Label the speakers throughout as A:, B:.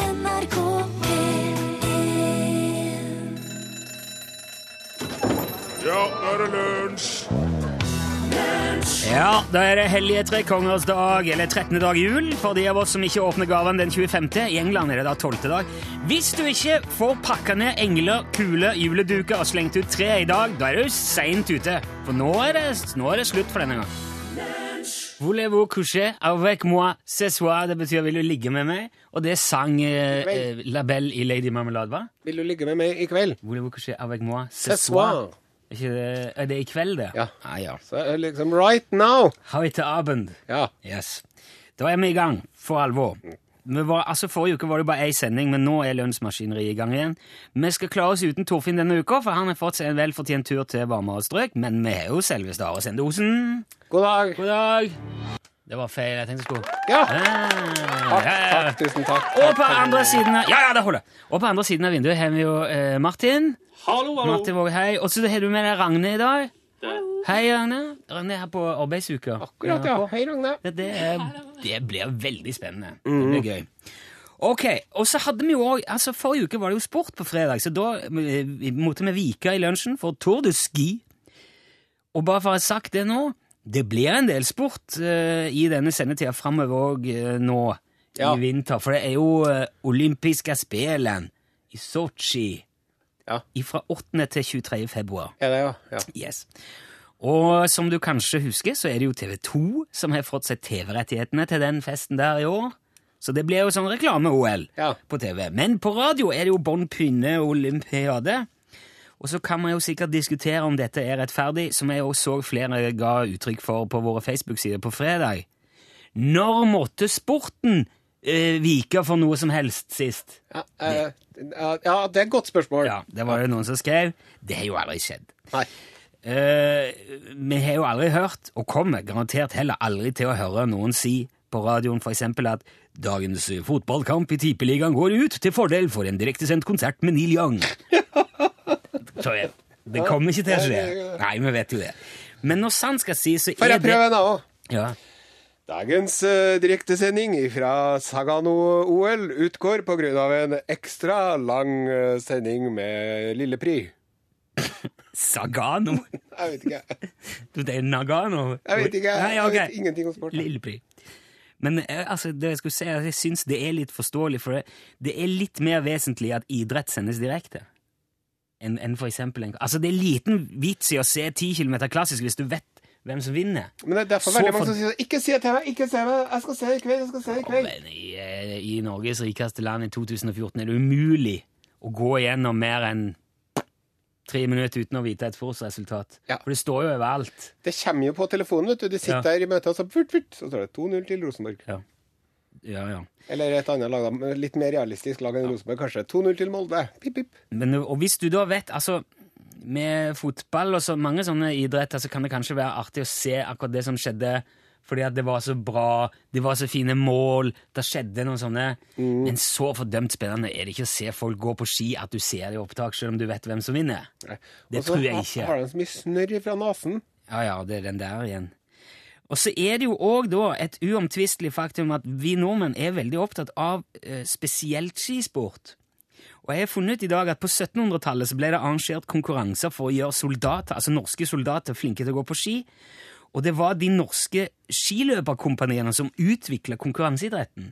A: NRK P1
B: Ja, nå er det lunsj!
C: Ja, da er det hellige trekongers dag, eller 13. dag jul, for de av oss som ikke åpner gaven den 25. I England er det da 12. dag. Hvis du ikke får pakka ned engler, kuler, juleduker og slengt ut tre i dag, da er du seint ute. For nå er, det, nå er det slutt for denne gang. Voulez-vous coucher avec moi ce soir? Det betyr 'vil du ligge med meg'? Og det sang eh, eh, Labelle i Lady Marmelade, hva?
D: Vil du ligge med meg i kveld?
C: Voulez-vous coucher avec moi ce
D: Ce
C: soir?
D: soir.
C: Er ikke det, er det i kveld, det?
D: Ja.
C: Ah, ja.
D: Så er det liksom right now!
C: Heute Abend.
D: Ja.
C: Yes. Da er vi i gang, for alvor. Vi var, altså Forrige uke var det bare én sending, men nå er lønnsmaskineriet i gang igjen. Vi skal klare oss uten Torfinn denne uka, for han har fått seg en velfortjent tur til varmere strøk. Men vi har jo selveste Are Sende Osen.
D: God dag!
C: God dag! Det var feil. Jeg tenkte jeg skulle
D: Ja!
C: Ah,
D: Takk,
C: ja, ja, ja.
D: takk, tusen takk.
C: Og på
D: Takk, takk.
C: andre siden av Ja, ja, det holder! Og på andre siden av vinduet har vi jo eh, Martin. Hallo, hallo. Martin Våge, hei. Og så har du med deg Ragne i dag. Hei, Ragne. Ragne er her på arbeidsuke.
D: Akkurat, ja. Hei, Ragne.
C: Det, det, er, det blir veldig spennende. Det blir gøy. Ok, og så hadde vi jo også, altså Forrige uke var det jo sport på fredag, så da eh, måtte vi vike i lunsjen for Tour de Ski. Og bare for å ha sagt det nå Det blir en del sport eh, i denne sendetida framover òg eh, nå
D: Ja.
C: i vinter. For det er jo eh, olympiske spelen i Sotsji
D: Ja.
C: fra 8. til 23. februar.
D: Er det, ja? ja.
C: Yes. Og som du kanskje husker, så er det jo TV2 som har fått seg TV-rettighetene til den festen der i år. Så det blir jo sånn reklame-OL
D: Ja.
C: på TV. Men på radio er det jo Bånn Pynne Olympiade. Og så kan man jo sikkert diskutere om dette er rettferdig, som jeg også så flere ga uttrykk for på våre Facebook-sider på fredag. Når måtte sporten eh, vike for noe som helst sist?
D: Ja, eh, ja, det er et godt spørsmål.
C: Ja, det var det noen som skrev. Det har jo aldri skjedd.
D: Nei.
C: Eh, vi har jo aldri hørt, og kommer garantert heller aldri til å høre noen si på radioen for eksempel at dagens fotballkamp i Tippeligaen går ut til fordel for en direktesendt konsert med Neil Young. Så jeg, det kommer ikke til å skje. Nei, vi vet jo det. Men når sant skal sies, så
D: Får
C: er
D: jeg
C: det
D: prøve en annen?
C: ja.
D: Dagens eh, direktesending fra Sagano-OL utgår pga. en ekstra lang eh, sending med Lille Pri.
C: Sagano.
D: Jeg vet ikke.
C: Du, det er Nagano.
D: Jeg vet ikke.
C: Nei,
D: Jeg
C: ok.
D: vet ingenting om sport.
C: Lillepri. Men eh, altså, det jeg skulle si, er at jeg syns det er litt forståelig, for det, det er litt mer vesentlig at idrett sendes direkte. Enn enn for eksempel en Altså, det er liten vits i å se 10 km klassisk hvis du vet hvem som vinner.
D: Men det er derfor
C: Så
D: veldig
C: for-
D: mange som sier sånn Ikke se TV, ikke se meg, jeg skal se det i kveld, jeg skal se det i
C: Og,
D: kveld.
C: men i, eh, I Norges rikeste land i 2014 er det umulig å gå igjennom mer enn tre minutter uten å vite et forholdsresultat.
D: Ja.
C: For det står jo overalt.
D: Det kommer jo på telefonen, vet du. De sitter
C: Ja.
D: der i møtet, og så vurt, vurt, så står det 2-0 til Rosenborg.
C: Ja, ja.
D: Eller et annet lag, da. men Litt mer realistisk lag enn Rosenborg, kanskje. 2-0 til Molde. Pip, pip.
C: Men, og hvis du da vet, altså med fotball og så mange sånne idretter, så kan det kanskje være artig å se akkurat det som skjedde, fordi at det var så bra, det var så fine mål, det skjedde noen sånne. Men så fordømt spennende er det ikke å se folk gå på ski at du ser det i opptak, selv om du vet hvem som vinner. Det
D: Og så
C: tror jeg
D: ha-
C: ikke.
D: Har de så mye snørr fra nesen?
C: Ja, ja, det er den der igjen. Og så er det jo òg da et uomtvistelig faktum at vi nordmenn er veldig opptatt av eh, spesielt skisport. Og jeg har funnet ut i dag at på 1700-tallet så ble det arrangert konkurranser for å gjøre soldater, altså norske soldater flinke til å gå på ski. Og det var de norske skiløperkompaniene som utvikla konkurranseidretten.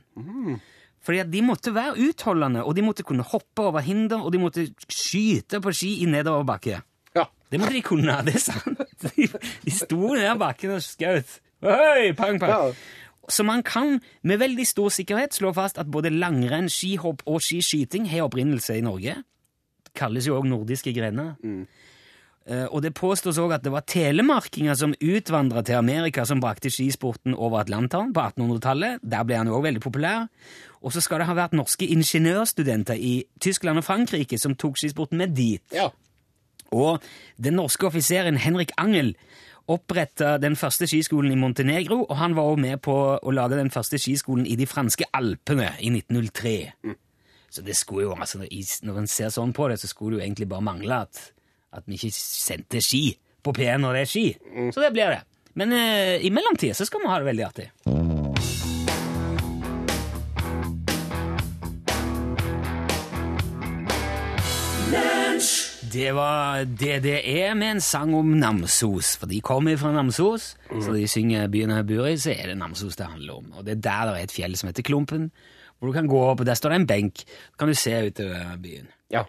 C: Fordi at de måtte være utholdende, og de måtte kunne hoppe over hinder, og de måtte skyte på ski i nedoverbakke.
D: Ja.
C: Det måtte de kunne, det er sant. De, de sto ned bakken og skjøt. Oi, pang, pang.
D: Ja.
C: Så man kan med veldig stor sikkerhet slå fast at både langrenn, skihopp og skiskyting har opprinnelse i Norge. Det kalles jo òg nordiske grener. Eh, og det påstås òg at det var telemarkinger som utvandra til Amerika, som brakte skisporten over Atlanteren på 1800-tallet. Der ble han òg veldig populær. Og så skal det ha vært norske ingeniørstudenter i Tyskland og Frankrike som tok skisporten med dit.
D: ja.
C: Og den norske offiseren Henrik Angel oppretta den første skiskolen i Montenegro, og han var også med på å lage den første skiskolen i de franske alpene i 1903. Så det skulle jo, altså, i- når en ser sånn på det, så skulle det jo egentlig bare mangle at, at vi ikke sendte ski på P1 når det er ski. Så det blir det. Men eh, i mellomtida så skal vi ha det veldig artig. Det var DDE med en sang om Namsos. For de kommer fra Namsos, så de synger byen her bor i, så er det Namsos det handler om. Og det er der det er et fjell som heter Klumpen, hvor du kan gå opp, og der står det en benk. Så kan du se utover byen.
D: Ja.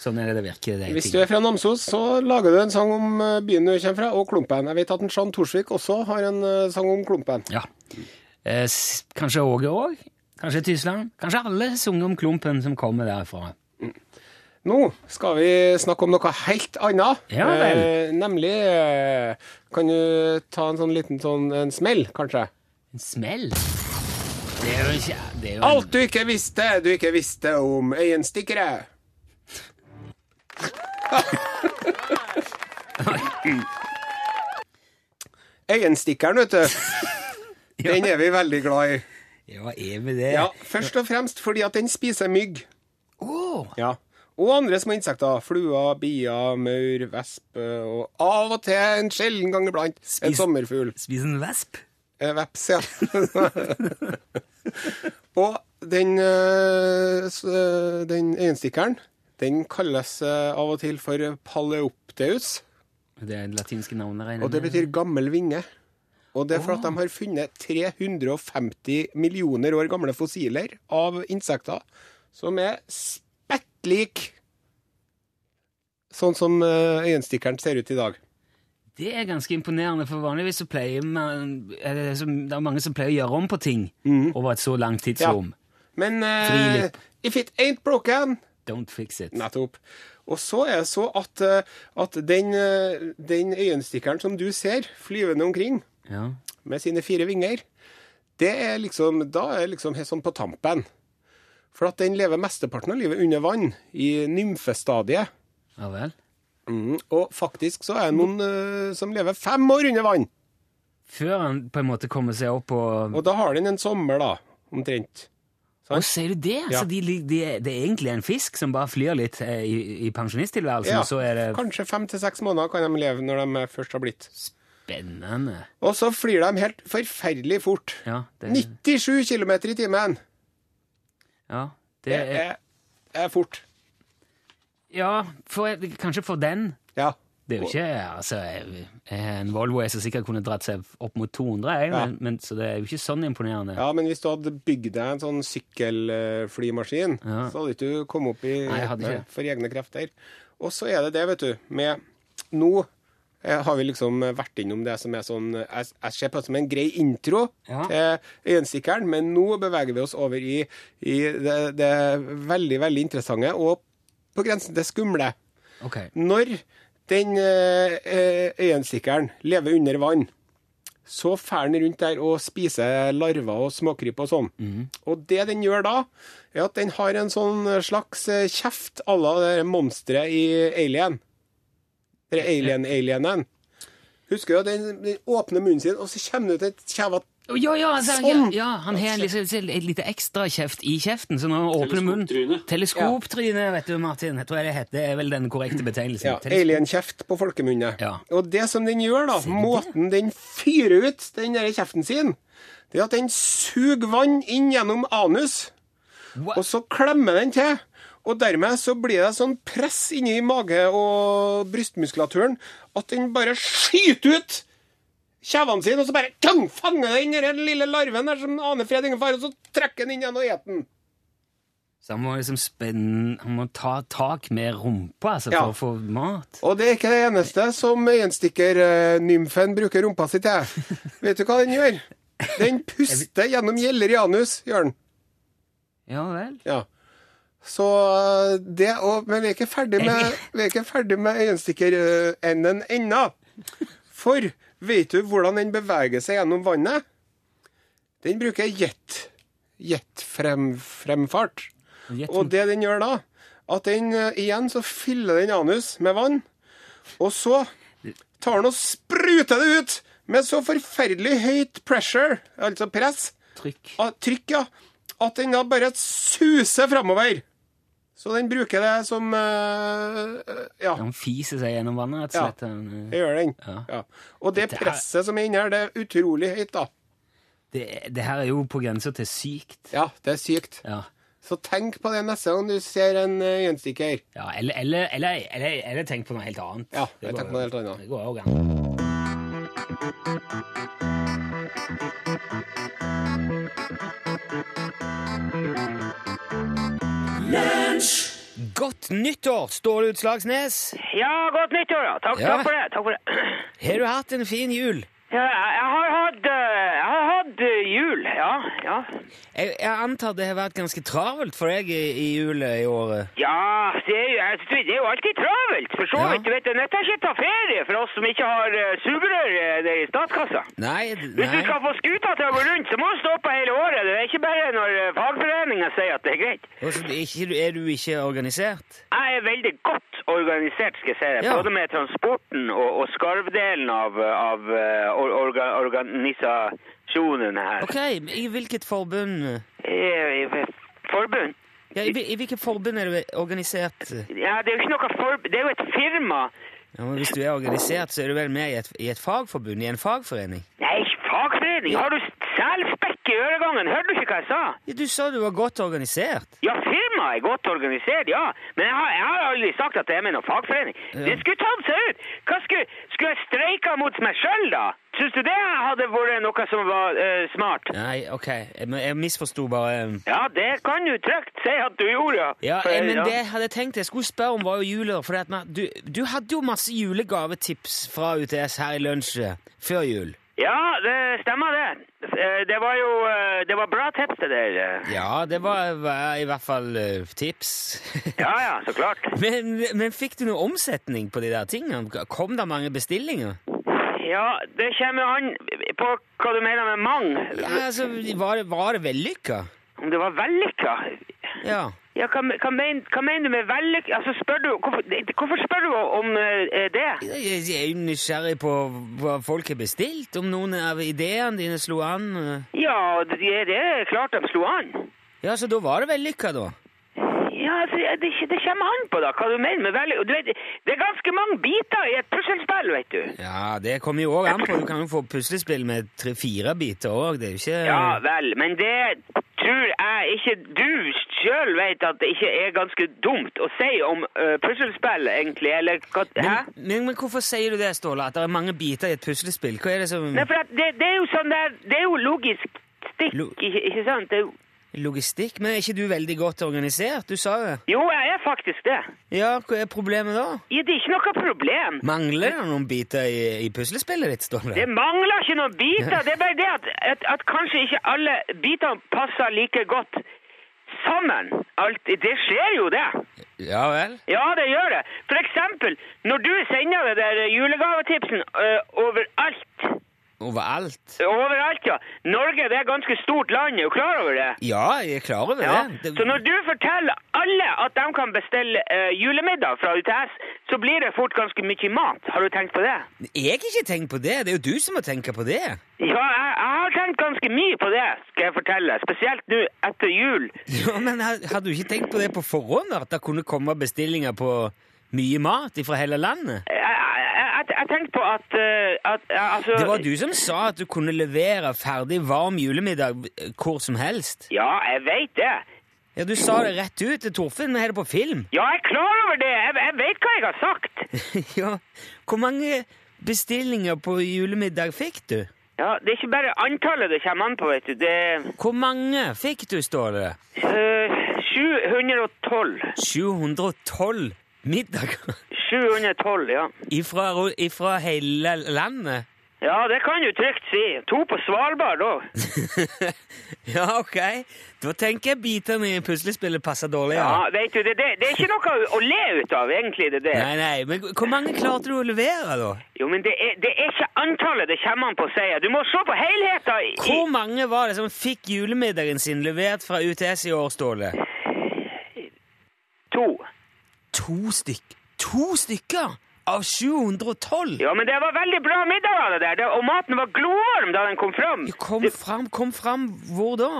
C: Sånn er det det virker. Det er
D: Hvis
C: ting.
D: du er fra Namsos, så lager du en sang om eh, byen du kommer fra, og Klumpen. Jeg vet at en Jean Torsvik også har en eh, sang om Klumpen.
C: Ja. Eh, s- kanskje Åge òg? Kanskje Tysland? Kanskje alle sunget om Klumpen som kommer derfra.
D: Nå skal vi snakke om noe helt annet.
C: Ja vel.
D: Eh, nemlig eh, Kan du ta en sånn liten sånn en smell, kanskje?
C: En smell? Det er jo ikke det er jo en-
D: Alt du ikke visste, du ikke visste om øyenstikkere. Øyenstikkeren, vet du. Den er vi veldig glad i.
C: Ja, er vi det?
D: Ja, Først og fremst fordi at den spiser mygg.
C: Åh!
D: Ja. Og andre små insekter. Fluer, bier, maur, vespe og av og til, en sjelden gang iblant, en
C: Spis-
D: sommerfugl.
C: Spis en vesp?
D: Eh, Veps, ja. og den, eh, s- eh, den øyenstikkeren, den kalles eh, av og til for paleopteus,
C: Det er latinske navnet, regner
D: og det
C: jeg med.
D: betyr gammel vinge. Og det er for at de har funnet 350 millioner år gamle fossiler av insekter som er spettlik sånn som eh, øyenstikkeren ser ut i dag.
C: Det er ganske imponerende, for vanligvis så pleier man er det, som, det er mange som pleier å gjøre om på ting
D: Mhm.
C: over et så langt tidsrom.
D: Men eh,
C: Frilip.
D: if it ain't broken
C: Don't fix it.
D: Nettopp. Og så er det så at, eh, at den, eh, den øyenstikkeren som du ser flyvende omkring
C: Ja.
D: med sine fire vinger, det er liksom, da er liksom helt sånn på tampen. For at den lever mesteparten av livet under vann, i nymfestadiet.
C: ja vel.
D: Mm, og faktisk så er det noen eh, som lever fem år under vann!
C: Før han på en måte kommer seg opp og
D: Og da har den en sommer, da, omtrent.
C: Å, sier du det?
D: Ja.
C: Så de, lig- de, er- det er egentlig en fisk som bare flyr litt eh, i, i pensjonisttilværelsen,
D: Ja,
C: og så er det
D: Kanskje fem til seks måneder kan de leve når de først har blitt.
C: spennende.
D: Og så flyr de helt forferdelig fort.
C: Ja, det,
D: 97 km i timen.
C: ja, det
D: Det
C: er
D: er, er fort.
C: Ja, for, kanskje for den.
D: Ja.
C: Det er jo ikke altså, jeg- jeg- En Volvo er så sikkert kunne dratt seg opp mot 200, jeg,
D: Ja.
C: men, men, så det er jo ikke sånn imponerende.
D: ja, men hvis du hadde bygd deg en sånn sykkelflymaskin,
C: Ja.
D: så hadde ikke du kommet opp i eh,
C: Nei, jeg hadde ikke det.
D: for egne krefter. Og så er det det, vet du, med Nå eh, har vi liksom vært innom det som er sånn eh, Jeg, jeg ser på det som en grei intro
C: Ja.
D: til øyenstikkeren, men nå beveger vi oss over i, i det, det veldig, veldig interessante og på grensen til skumle.
C: Ok.
D: Når den eh, eh, øyenstikkeren lever under vann, så fer den rundt der og spiser larver og småkryp og sånn. Og det den gjør da, er at den har en sånn slags eh, kjeft à la det monsteret i Alien. Det er Alien-alienen. Husker du at den, den åpner munnen sin, og så kommer det ut et kjeva
C: Å, Ja, ja, altså,
D: Sånn!
C: ja, ja, han har en lite, et lite ekstra kjeft i kjeften, så når han åpner munnen Teleskoptryne, vet du, Martin. Jeg tror jeg det heter. Det er vel den korrekte betegnelsen.
D: ja,
C: Teleskop-
D: alien-kjeft på folkemunne.
C: Ja.
D: Og det som den gjør, da, måten den fyrer ut den der kjeften sin, det er at den suger vann inn gjennom anus.
C: Hva?
D: Og så klemmer den til. Og dermed så blir det sånn press inni mage- og brystmuskulaturen at den bare skyter ut kjevene sine, og så bare kang, fanger den der lille larven der som aner fred ingen fare, og så trekker den inn igjen og eter den.
C: Så han må liksom spenne Han må ta tak med rumpa altså,
D: Ja.
C: for å få mat.
D: Og det er ikke det eneste som øyenstikkernymfen bruker rumpa si til. Vet du hva den gjør? Den puster gjennom gjeller i anus, gjør den.
C: Ja vel.
D: Ja. Så øh, det og, Men vi er ikke ferdig med, vi er ikke ferdig med eh, øyenstikkerenden ennå. For vet du hvordan den beveger seg gjennom vannet? Den bruker jet. Jetfremfart.
C: Gjett
D: Og det den gjør da, at den eh, igjen så fyller den anus med vann, og så tar den og spruter det ut med så forferdelig høyt pressure, altså press,
C: trykk.
D: ah, trykk, ja, at den da bare suser framover. Så den bruker det som eh, Ja,
C: Han fiser seg gjennom vannet, rett og
D: Ja.
C: slett. Han, eh,
D: det gjør den.
C: Ja.
D: Ja. Og det
C: Dette er-
D: presset som er inni her, det er utrolig høyt, da.
C: Det, det her er jo på grensa til sykt.
D: Ja, det er sykt.
C: Ja.
D: Så tenk på det neste gang du ser en eh, øyenstikker.
C: Ja, eller, eller, eller, eller, eller tenk på noe helt annet.
D: Ja,
C: Det
D: jeg
C: går
D: tenker på noe
C: jo-
D: helt annet.
C: Det går også an. Godt nyttår, Ståle Utslagsnes!
A: Ja, godt nyttår, da. Takk,
C: Ja.
A: takk for det. Takk for det.
C: Har du hatt en fin jul?
A: Ja, jeg jeg har hatt, eh, jeg har hatt eh, jul, ja. Ja,
C: Jeg, jeg antar det har vært ganske travelt for deg i, i jula i året.
A: ja det, er jo, jeg synes det er jo alltid travelt, for så
C: Ja.
A: vidt. Du vet, det er nødt til å ikke ta ferie for oss som ikke har uh, sugerør eh, der i statskassa.
C: Nei, d-
A: Hvis du
C: nei.
A: skal få skuta til å gå rundt, så må du stå på hele året. Det er ikke bare når eh, fagforeningen sier at det er greit.
C: Og så er ikke- Er du ikke organisert?
A: Jeg er veldig godt organisert, skal jeg si deg.
C: Ja.
A: Både med transporten og, og skarvdelen av, av eh, or, orga, organisasjonen her.
C: Ok, i hvilket forbund
A: Eh, eh, Forbund?
C: ja, i, hvil- I hvilket forbund er du organisert?
A: Ja, det er jo ikke noe forb... Det er jo et firma.
C: Ja, men hvis du er organisert, så er du vel med i et, i et fagforbund, i en fagforening?
A: Nei, fagforening! Har du selspekk i øregangen? Hørte du ikke hva jeg sa?
C: Ja, du sa du var godt organisert.
A: Ja, firmaet er godt organisert, ja. Men jeg har, jeg har aldri sagt at det er med noen fagforening.
C: Ja.
A: Det skulle tatt seg ut! Hva skulle, skulle jeg streika mot meg sjøl, da? Syns du det hadde vært noe som var eh, smart?
C: Nei, ok, jeg, men jeg misforsto bare. um.
A: Ja, det kan du trygt si at du gjorde, ja.
C: Ja,
A: For,
C: eh, men
A: ja.
C: det jeg hadde tenkt jeg skulle spørre om, var jo juler. For du, du hadde jo masse julegavetips fra UTS her i lunsj før jul.
A: Ja, det stemmer det. Eh, Det var jo eh, Det var bra tips, det der. eh.
C: Ja, det var, var i hvert fall eh, tips.
A: Ja ja, så klart.
C: men, men fikk du noe omsetning på de der tingene? Kom det mange bestillinger?
A: Ja, det kommer jo an på hva du mener med mang.
C: Ja, altså, var det, var det vellykka?
A: Om det var vellykka?
C: Ja.
A: Ja, hva, hva, men, hva mener du med vellykka? Altså, spør du Hvorfor, hvorfor spør du om eh, det?
C: Jeg jeg er jo nysgjerrig på hva folk har bestilt, om noen av ideene dine slo an. eh.
A: Ja, det, det er klart de slo an.
C: Ja, så da var det vellykka, da.
A: Ja, altså, ja, det, det kommer an på da, hva du mener med vellykka. Du vet, det er ganske mange biter i et puslespill, vet du.
C: Ja, det kommer jo òg an på. Du kan jo få puslespill med tre-fire biter òg. Det er jo ikke
A: Ja vel, men det tror jeg ikke du sjøl vet at det ikke er ganske dumt å si om uh, puslespill, egentlig, eller hva Hæ?
C: men, men, men hvorfor sier du det, Ståle? At det er mange biter i et puslespill? Hva er det som
A: Nei, for at det, det er jo sånn der Det er jo logisk stikk,
C: Lo-
A: ikke, ikke sant? Det er jo,
C: Logistikk? Men er ikke du veldig godt organisert? Du sa jo
A: jo, jeg er faktisk det.
C: Ja, hva er problemet da?
A: Ja, Det er ikke noe problem.
C: Mangler det noen biter i, i puslespillet ditt, Ståle?
A: Det mangler ikke noen biter. Det er bare det at, at, at kanskje ikke alle bitene passer like godt sammen. Alt, det skjer jo, det.
C: Ja vel?
A: Ja, det gjør det. For eksempel, når du sender det der julegavetipsen øh, overalt
C: Overalt?
A: Overalt, ja. Norge det er et ganske stort land, er du klar over det?
C: Ja, jeg er klar over
A: Ja.
C: det. det.
A: Så når du forteller alle at de kan bestille eh, julemiddag fra UTS, så blir det fort ganske mye mat. Har du tenkt på det?
C: Jeg har ikke tenkt på det. Det er jo du som må tenke på det.
A: Ja, jeg, jeg har tenkt ganske mye på det, skal jeg fortelle. Spesielt nå etter jul.
C: Ja, Men har har du ikke tenkt på det på forhånd? At det kunne komme bestillinger på mye mat fra hele landet?
A: Jeg, jeg, jeg, jeg tenkte på at, eh, at eh, altså,
C: Det var du som sa at du kunne levere ferdig varm julemiddag eh, hvor som helst.
A: Ja, jeg vet det.
C: Ja, Du sa det rett ut til Torfinn. Vi har det på film.
A: Ja, jeg er klar over det. Jeg, jeg vet hva jeg har sagt.
C: ja, Hvor mange bestillinger på julemiddag fikk du?
A: Ja, Det er ikke bare antallet det kommer an på, vet du. Det er
C: Hvor mange fikk du, står det?
A: eh, 712.
C: 712 middager
A: 712, ja.
C: ifra, ro- ifra hele landet?
A: Ja, det kan du trygt si. To på Svalbard òg.
C: ja, ok. Da tenker jeg bitene i puslespillet passer dårlig. Ja.
A: Ja, vet du, det, det, det er ikke noe å le ut av, egentlig, det der.
C: Nei, nei, men hvor mange klarte du å levere, da?
A: Jo, men det er, det er ikke antallet det kommer an på, sier jeg. Du må se på helheten. i-
C: Hvor mange var det som fikk julemiddagen sin levert fra UTS i år, Ståle?
A: i to.
C: To stykk. To stykker av 712!
A: Ja, men det var veldig bra middag av det der, det, og maten var glovarm da den kom fram.
C: Ja, Kom fram, kom fram. Hvor da?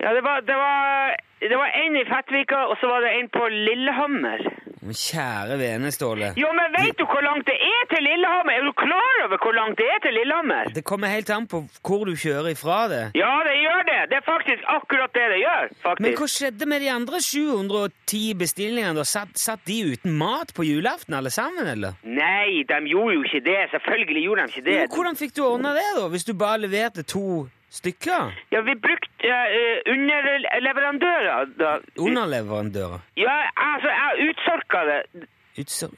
A: Ja, det var, det var, det var en i Fettvika, og så var det en på Lillehammer.
C: Men kjære vene, Ståle.
A: Jo, men vet du hvor langt det er til Lillehammer? Er du klar over hvor langt det er til Lillehammer?
C: Det kommer helt an på hvor du kjører ifra det.
A: Ja, det gjør det. Det er faktisk akkurat det det gjør.
C: Men
A: faktisk.
C: hva skjedde med de andre 710 bestillingene? da? Satt, satt de uten mat på julaften alle sammen, eller?
A: Nei, de gjorde jo ikke det. Selvfølgelig gjorde de ikke det.
C: Men Hvordan fikk du ordna det, da, hvis du bare leverte to stykker?
A: Ja, vi brukte eh, underleverandører. Da.
C: Underleverandører?
A: Ja, altså, jeg utsorka det.
C: Utsor-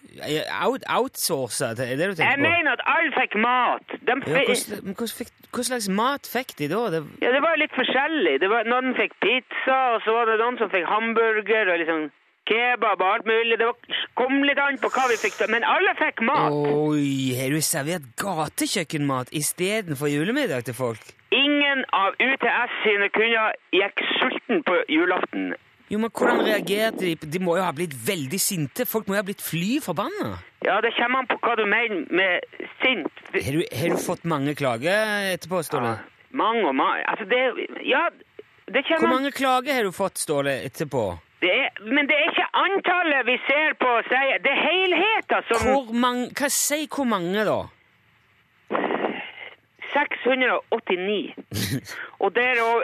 C: Out, outsourca, er det du
A: Jeg
C: tenker på?
A: mener at alle fikk mat. De
C: Ja,
A: fi-
C: hva, sl- men hva, fikk, hva slags mat fikk de da? Det,
A: ja, det var litt forskjellig. Det var, noen fikk pizza, og så var det noen som fikk hamburger og liksom kebab og alt mulig. Det var, kom litt an på hva vi fikk, men alle fikk mat.
C: Oi, har du servert gatekjøkkenmat istedenfor julemiddag til folk?
A: Ingen av UTS sine kunder gikk sulten på julaften.
C: Jo, men Hvordan reagerte de? De må jo ha blitt veldig sinte. Folk må jo ha blitt fly forbanna.
A: Ja, det kommer an på hva du mener med sint.
C: Har du, har du fått mange klager etterpå, Ståle?
A: Mange og mange. Altså, det Ja, det
C: Hvor
A: kommer an
C: mange klager har du fått, Ståle, etterpå?
A: det er, Men det er ikke antallet vi ser på, sier Det er helheten som
C: Hvor mange, hva Si hvor mange, da?
A: 689. Og det er òg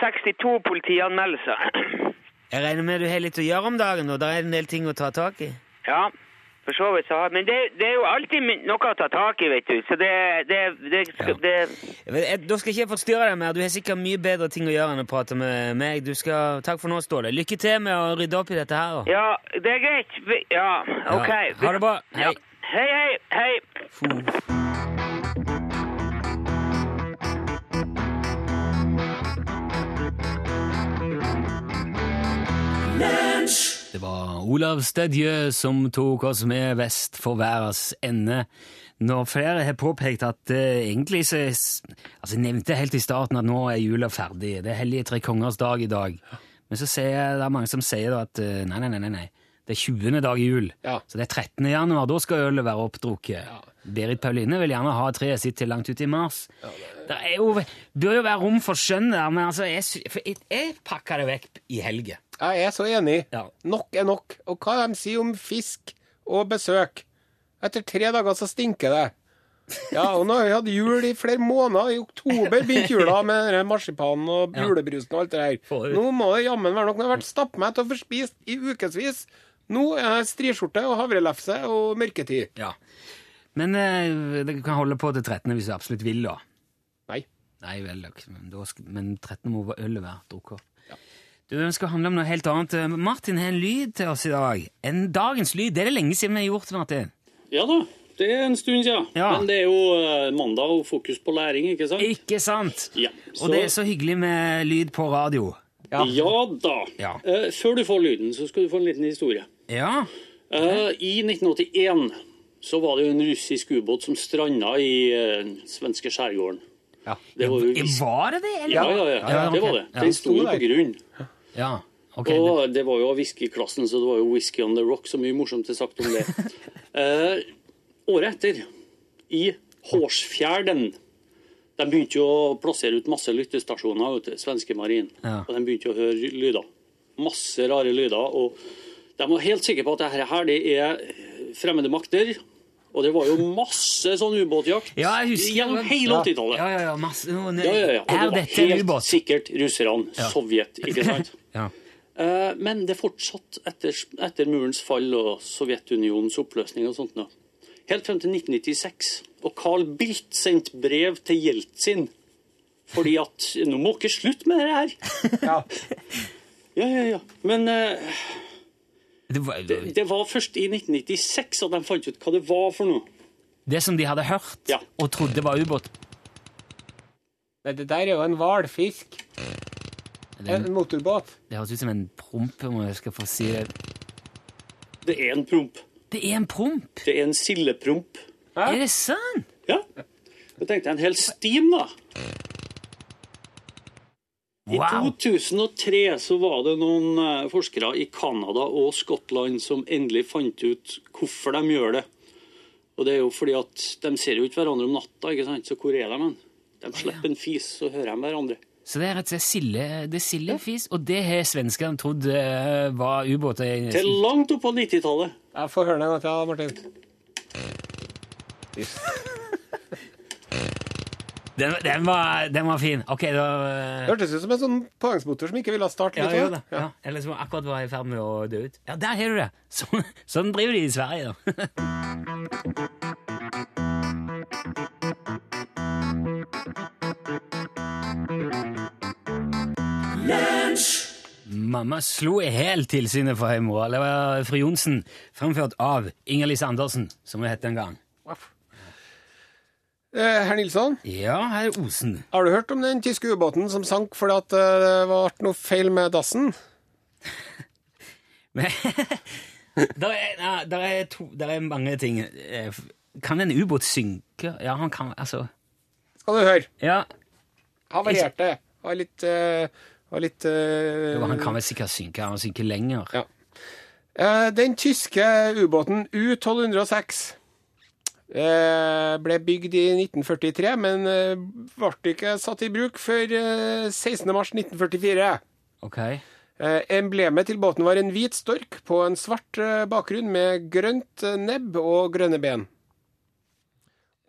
A: 62 politianmeldelser.
C: Jeg regner med du har litt å gjøre om dagen, og det er en del ting å ta tak i?
A: Ja, for så vidt. så har- Men det, det er jo alltid min- noe å ta tak i, vet du. Så det, det, det,
C: Ja.
A: det
C: Jeg vet- jeg- Da skal ikke jeg forstyrre deg mer. Du har sikkert mye bedre ting å gjøre enn å prate med meg. Du skal, takk for nå, Ståle. Lykke til med å rydde opp i dette her. da.
A: Ja, det er greit. Vi- Ja, OK.
C: Ha det bra. Hei.
A: Ja. Hei, hei, hei.
C: Det var Olav Stedje som tok oss med vest for verdens ende. Når flere har påpekt at eh, egentlig så er s- Altså, jeg nevnte helt i starten at nå er jula ferdig. Det er Hellige tre kongers dag i dag. Men så ser jeg, det er mange som sier da at eh, nei, nei, nei, nei, nei. Det er 20. dag i jul.
D: Ja.
C: Så det er 13. januar. Da skal ølet være oppdrukket. Berit Pauline vil gjerne ha treet sitt til langt ut i mars. det er jo, bør jo være rom for skjønn der, men altså, jeg, sy- for jeg, jeg pakker det vekk i helga.
D: Jeg er så enig.
C: Ja.
D: Nok er nok. Og hva de sier om fisk og besøk? Etter tre dager så stinker det. Ja, og nå har vi hatt jul i flere måneder. I oktober begynte jula med denne marsipanen og julebrusen og alt det
C: Får
D: der.
C: ut.
D: Nå må det jammen være nok. Nå har jeg vært stappmett og forspist i ukevis. Nå er det striskjorte og havrelefse og mørketid.
C: Ja. Men eh, det kan holde på til 13. hvis du absolutt vil, da.
D: Nei.
C: Nei vel, da, men, da sk- men 13. må ølet være drukket opp. Du, Den skal handle om noe helt annet. Eh, Martin har en lyd til oss i dag. En dagens lyd. Det er det lenge siden vi har gjort, Martin.
E: Ja da, det er en stund siden.
C: Ja.
E: Men det er jo eh, mandag og fokus på læring, ikke sant?
C: Ikke sant?
E: Ja, så-
C: Og det er så hyggelig med lyd på radio.
E: Ja, da.
C: Ja.
E: Eh, før du får lyden, så skal du få en liten historie.
C: Ja.
E: Eh, I 1981 så var det jo en russisk ubåt som stranda i eh, den svenske skjærgården. Det var jo visst.
C: Var det det, eller?
E: Ja, ja, ja,
C: Ja,
E: det
C: ok.
E: var det.
C: Ja.
E: Den sto jo på grunn.
C: Ja, ok.
E: Og det var jo av whiskyklassen, så det var jo whisky on the rock, så mye morsomt er sagt om det. Eh, året etter, i Hårsfjärden, de begynte jo å plassere ut masse lyttestasjoner vet du, svenske marin,
C: Ja.
E: og de begynte jo å høre lyder. Masse rare lyder, og de var helt sikre på at dette her, det er fremmede makter, og det var jo masse sånn ubåtjakt
C: Ja, jeg husker.
E: gjennom hele 80-tallet.
C: Ja, ja, ja. Masse. Nå,
E: Ja, ja, ja. Og
C: Er
E: det
C: dette
E: var
C: en
E: helt
C: ubåt?
E: sikkert russerne, Sovjet, ikke sant?
C: Ja.
E: Eh, Men det fortsatte etter, etter murens fall og Sovjetunionens oppløsning og sånt nå. Helt frem til 1996. Og Carl Bildt sendte brev til Jeltsin fordi at Nå må dere slutte med det her!
D: Ja.
E: Ja, ja, ja. Men eh,
C: Det, var,
E: det var først i 1996 at de fant ut hva det var for noe.
C: det som de hadde hørt
E: Ja.
C: og trodde var ubåt.
D: Nei, det der er jo en hvalfisk. En motorbåt.
C: Det høres ut som en promp, om jeg skal få si det.
E: Det er en promp.
C: Det er en promp!
E: Det er en sildepromp.
C: Er det sant?
E: Ja. Da tenkte jeg en hel stim, da. I
C: Wow!
E: 2003 så var det noen eh, forskere i Canada og Skottland som endelig fant ut hvorfor de gjør det. Og det er jo fordi at de ser jo ikke hverandre om natta, ikke sant? så hvor er de hen? De slipper en fis, så hører de hverandre.
C: Så det er rett og slett silde, det er sildefis, og det har svenskene trodd eh, var ubåter. i-
E: Til langt opp på 90-tallet.
D: Jeg får høre den en gang til, Martin.
C: Den, den, var, den var fin. Ok, da
D: Det hørtes ut som en sånn påhengsmotor som ikke ville starte.
C: Ja,
D: litt,
C: jeg gjør
D: da.
C: det. Ja. Eller som akkurat var i ferd med å dø ut. Ja, der har du det! Så, sånn driver de i Sverige, da. Mamma slo i hæl tilsynet for høymoral. Det var fru Johnsen, fremført av Inger-Lise Andersen, som hun het den gang.
D: Uff. Eh, Herr Nilsson,
C: Ja, herr Osen.
D: har du hørt om den tyske ubåten som sank fordi at eh, det var noe feil med dassen?
C: Men- der, er, nei, der, er to, der er mange ting. Eh, f- Kan en ubåt synke? Ja, han kan altså
D: Skal du høre.
C: Ja,
D: Havarerte. Var litt, eh, var litt eh,
C: jo, han kan vel sikkert synke. Han synker lenger.
D: Ja. Eh, Den tyske ubåten U-1206 eh, ble bygd i 1943, men eh, ble ikke satt i bruk før eh, 16. mars 1944.
C: Ok.
D: Eh, Emblemet til båten var en hvit stork på en svart eh, bakgrunn med grønt eh, nebb og grønne ben.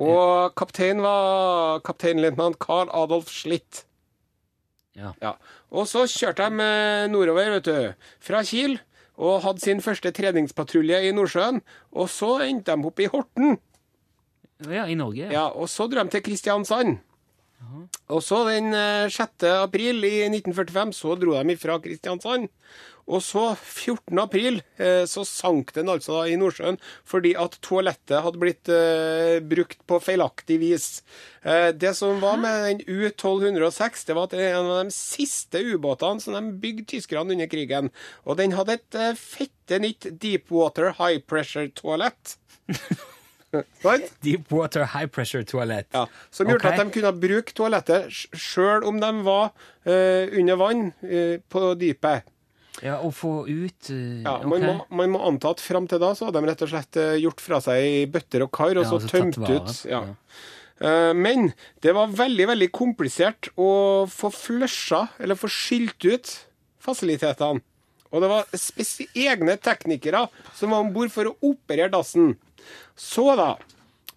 D: Og kaptein var kapteinløytnant Carl Adolf Schlitt.
C: Ja.
D: Og så kjørte de eh, nordover, vet du, fra Kiel, og hadde sin første treningspatrulje i Nordsjøen. Og så endte de opp i Horten,
C: ja, i Norge. Ja.
D: ja, og så dro de til Kristiansand. Og så den eh, 6. april i 1945 så dro de ifra Kristiansand. Og så 14. april eh, så sank den altså da i Nordsjøen fordi at toalettet hadde blitt eh, brukt på feilaktig vis. Eh, det som var med den U-1206, det var at det er en av de siste ubåtene som de bygde tyskerne under krigen. Og den hadde et eh, fette nytt deepwater high pressure-toalett. Sant?
C: Deepwater high pressure toalett.
D: Ja, som
C: Ok.
D: gjorde at de kunne bruke toalettet sj- sjøl om de var eh, under vann eh, på dypet.
C: Ja, Å få ut eh,
D: Ja,
C: ok.
D: man, må, man må anta at fram til da så hadde de rett og slett eh, gjort fra seg i bøtter og kar,
C: Ja,
D: og så
C: altså tatt
D: tømt
C: vare
D: ut.
C: på,
D: Ja.
C: ja.
D: Eh, Men det var veldig, veldig komplisert å få flusha, eller få skylt ut, fasilitetene. Og det var spesi- egne teknikere som var om bord for å operere dassen. Så da,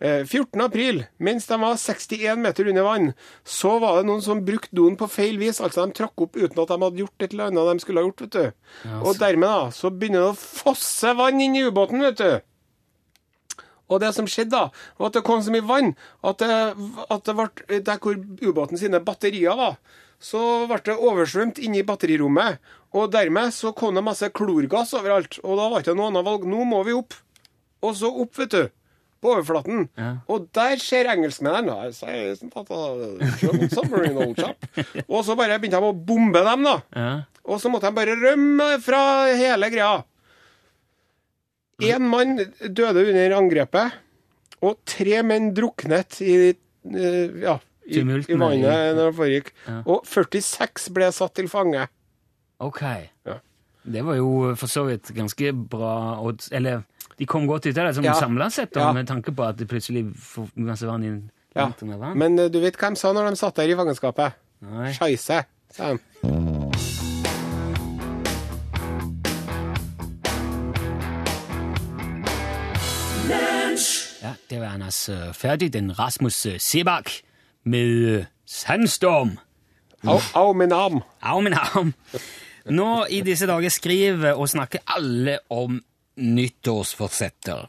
D: eh, 14. april, mens de var 61 meter under vann, så var det noen som brukte doen på feil vis, altså de trakk opp uten at de hadde gjort et eller annet de skulle ha gjort, vet du. Og dermed da, så begynner det å fosse vann inn i ubåten, vet du. Og det som skjedde da, var at det kom så mye vann at det, at det ble der hvor ubåten sine batterier var, så ble det oversvømt inne i batterirommet. Og dermed så kom det masse klorgass overalt. Og da var det ikke noe annet valg. Nå må vi opp. Og så opp, vet du. På overflaten. Og der ser engelskmennene «I say, isn't that a German submarine, old chap?» Og så bare begynte de å bombe dem, da.
C: Ja.
D: Og så måtte de bare rømme fra hele greia. Én mann døde under angrepet, og tre menn druknet i, eh, ja, i,
C: Tumulten
D: i
C: i-
D: vannet når det foregikk. Og 46 ble satt til fange.
C: Ok.
D: Ja.
C: Det var jo for så vidt ganske bra odds Eller de kom godt ut av det, som
D: Ja.
C: samla sett, da,
D: Ja.
C: med tanke på at det plutselig får masse vann inn.
D: Ja.
C: langt under vann.
D: Men eh, du vet hva de sa når de satt der i fangenskapet?
C: Nei.
D: Scheisse, sa de.
C: Ja, det var Anders øh, Ferdig, den Rasmus øh, Sebak, med øh, Sandstorm.
D: Au, au min arm.
C: Au, min arm! Nå i disse dager skriver og snakker alle om nyttårsforsetter.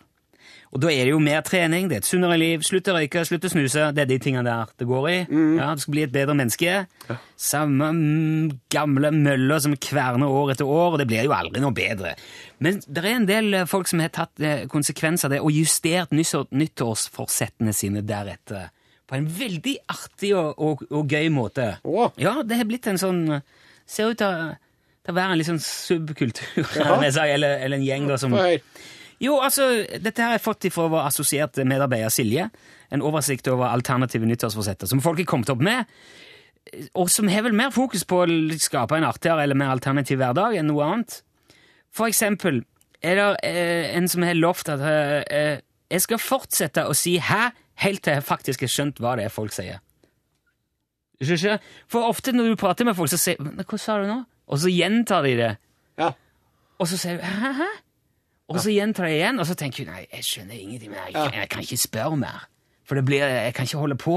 C: Og da er det jo mer trening, det er et sunnere liv, slutte å røyke, slutte å snuse, det er de tingene der det går i. Ja, Du skal bli et bedre menneske. Samme mm, gamle mølla som kverner år etter år, og det blir jo aldri noe bedre. Men det er en del eh, folk som har tatt eh, konsekvenser av det, og justert nyså- nyttårsforsettene sine deretter. På en veldig artig og, og, og gøy måte.
D: Å.
C: Ja, det har blitt en sånn Ser ut til å- til å være en litt sånn subkultur, om jeg sier, eller, eller en gjeng da, som
D: Få høre.
C: jo, altså, dette her har jeg fått ifra vår assosierte medarbeider Silje. En oversikt over alternative nyttårsforsetter som folk har kommet opp med. Og som har vel mer fokus på å skape en artigere eller mer alternativ hverdag enn noe annet. For eksempel er det eh, en som har lovt at eh, eh, jeg skal fortsette å si 'hæ' helt til jeg faktisk har skjønt hva det er folk sier. Skjønner du ikke? For ofte når du prater med folk, så sier «Men 'hva sa du nå?' Og så gjentar de det.
D: Ja.
C: Og så sier du 'hæ, hæ'? Og så gjentar jeg igjen, og så tenker hun nei, jeg skjønner ingenting, men jeg, kan- jeg kan ikke spørre mer. For det blir, jeg kan ikke holde på.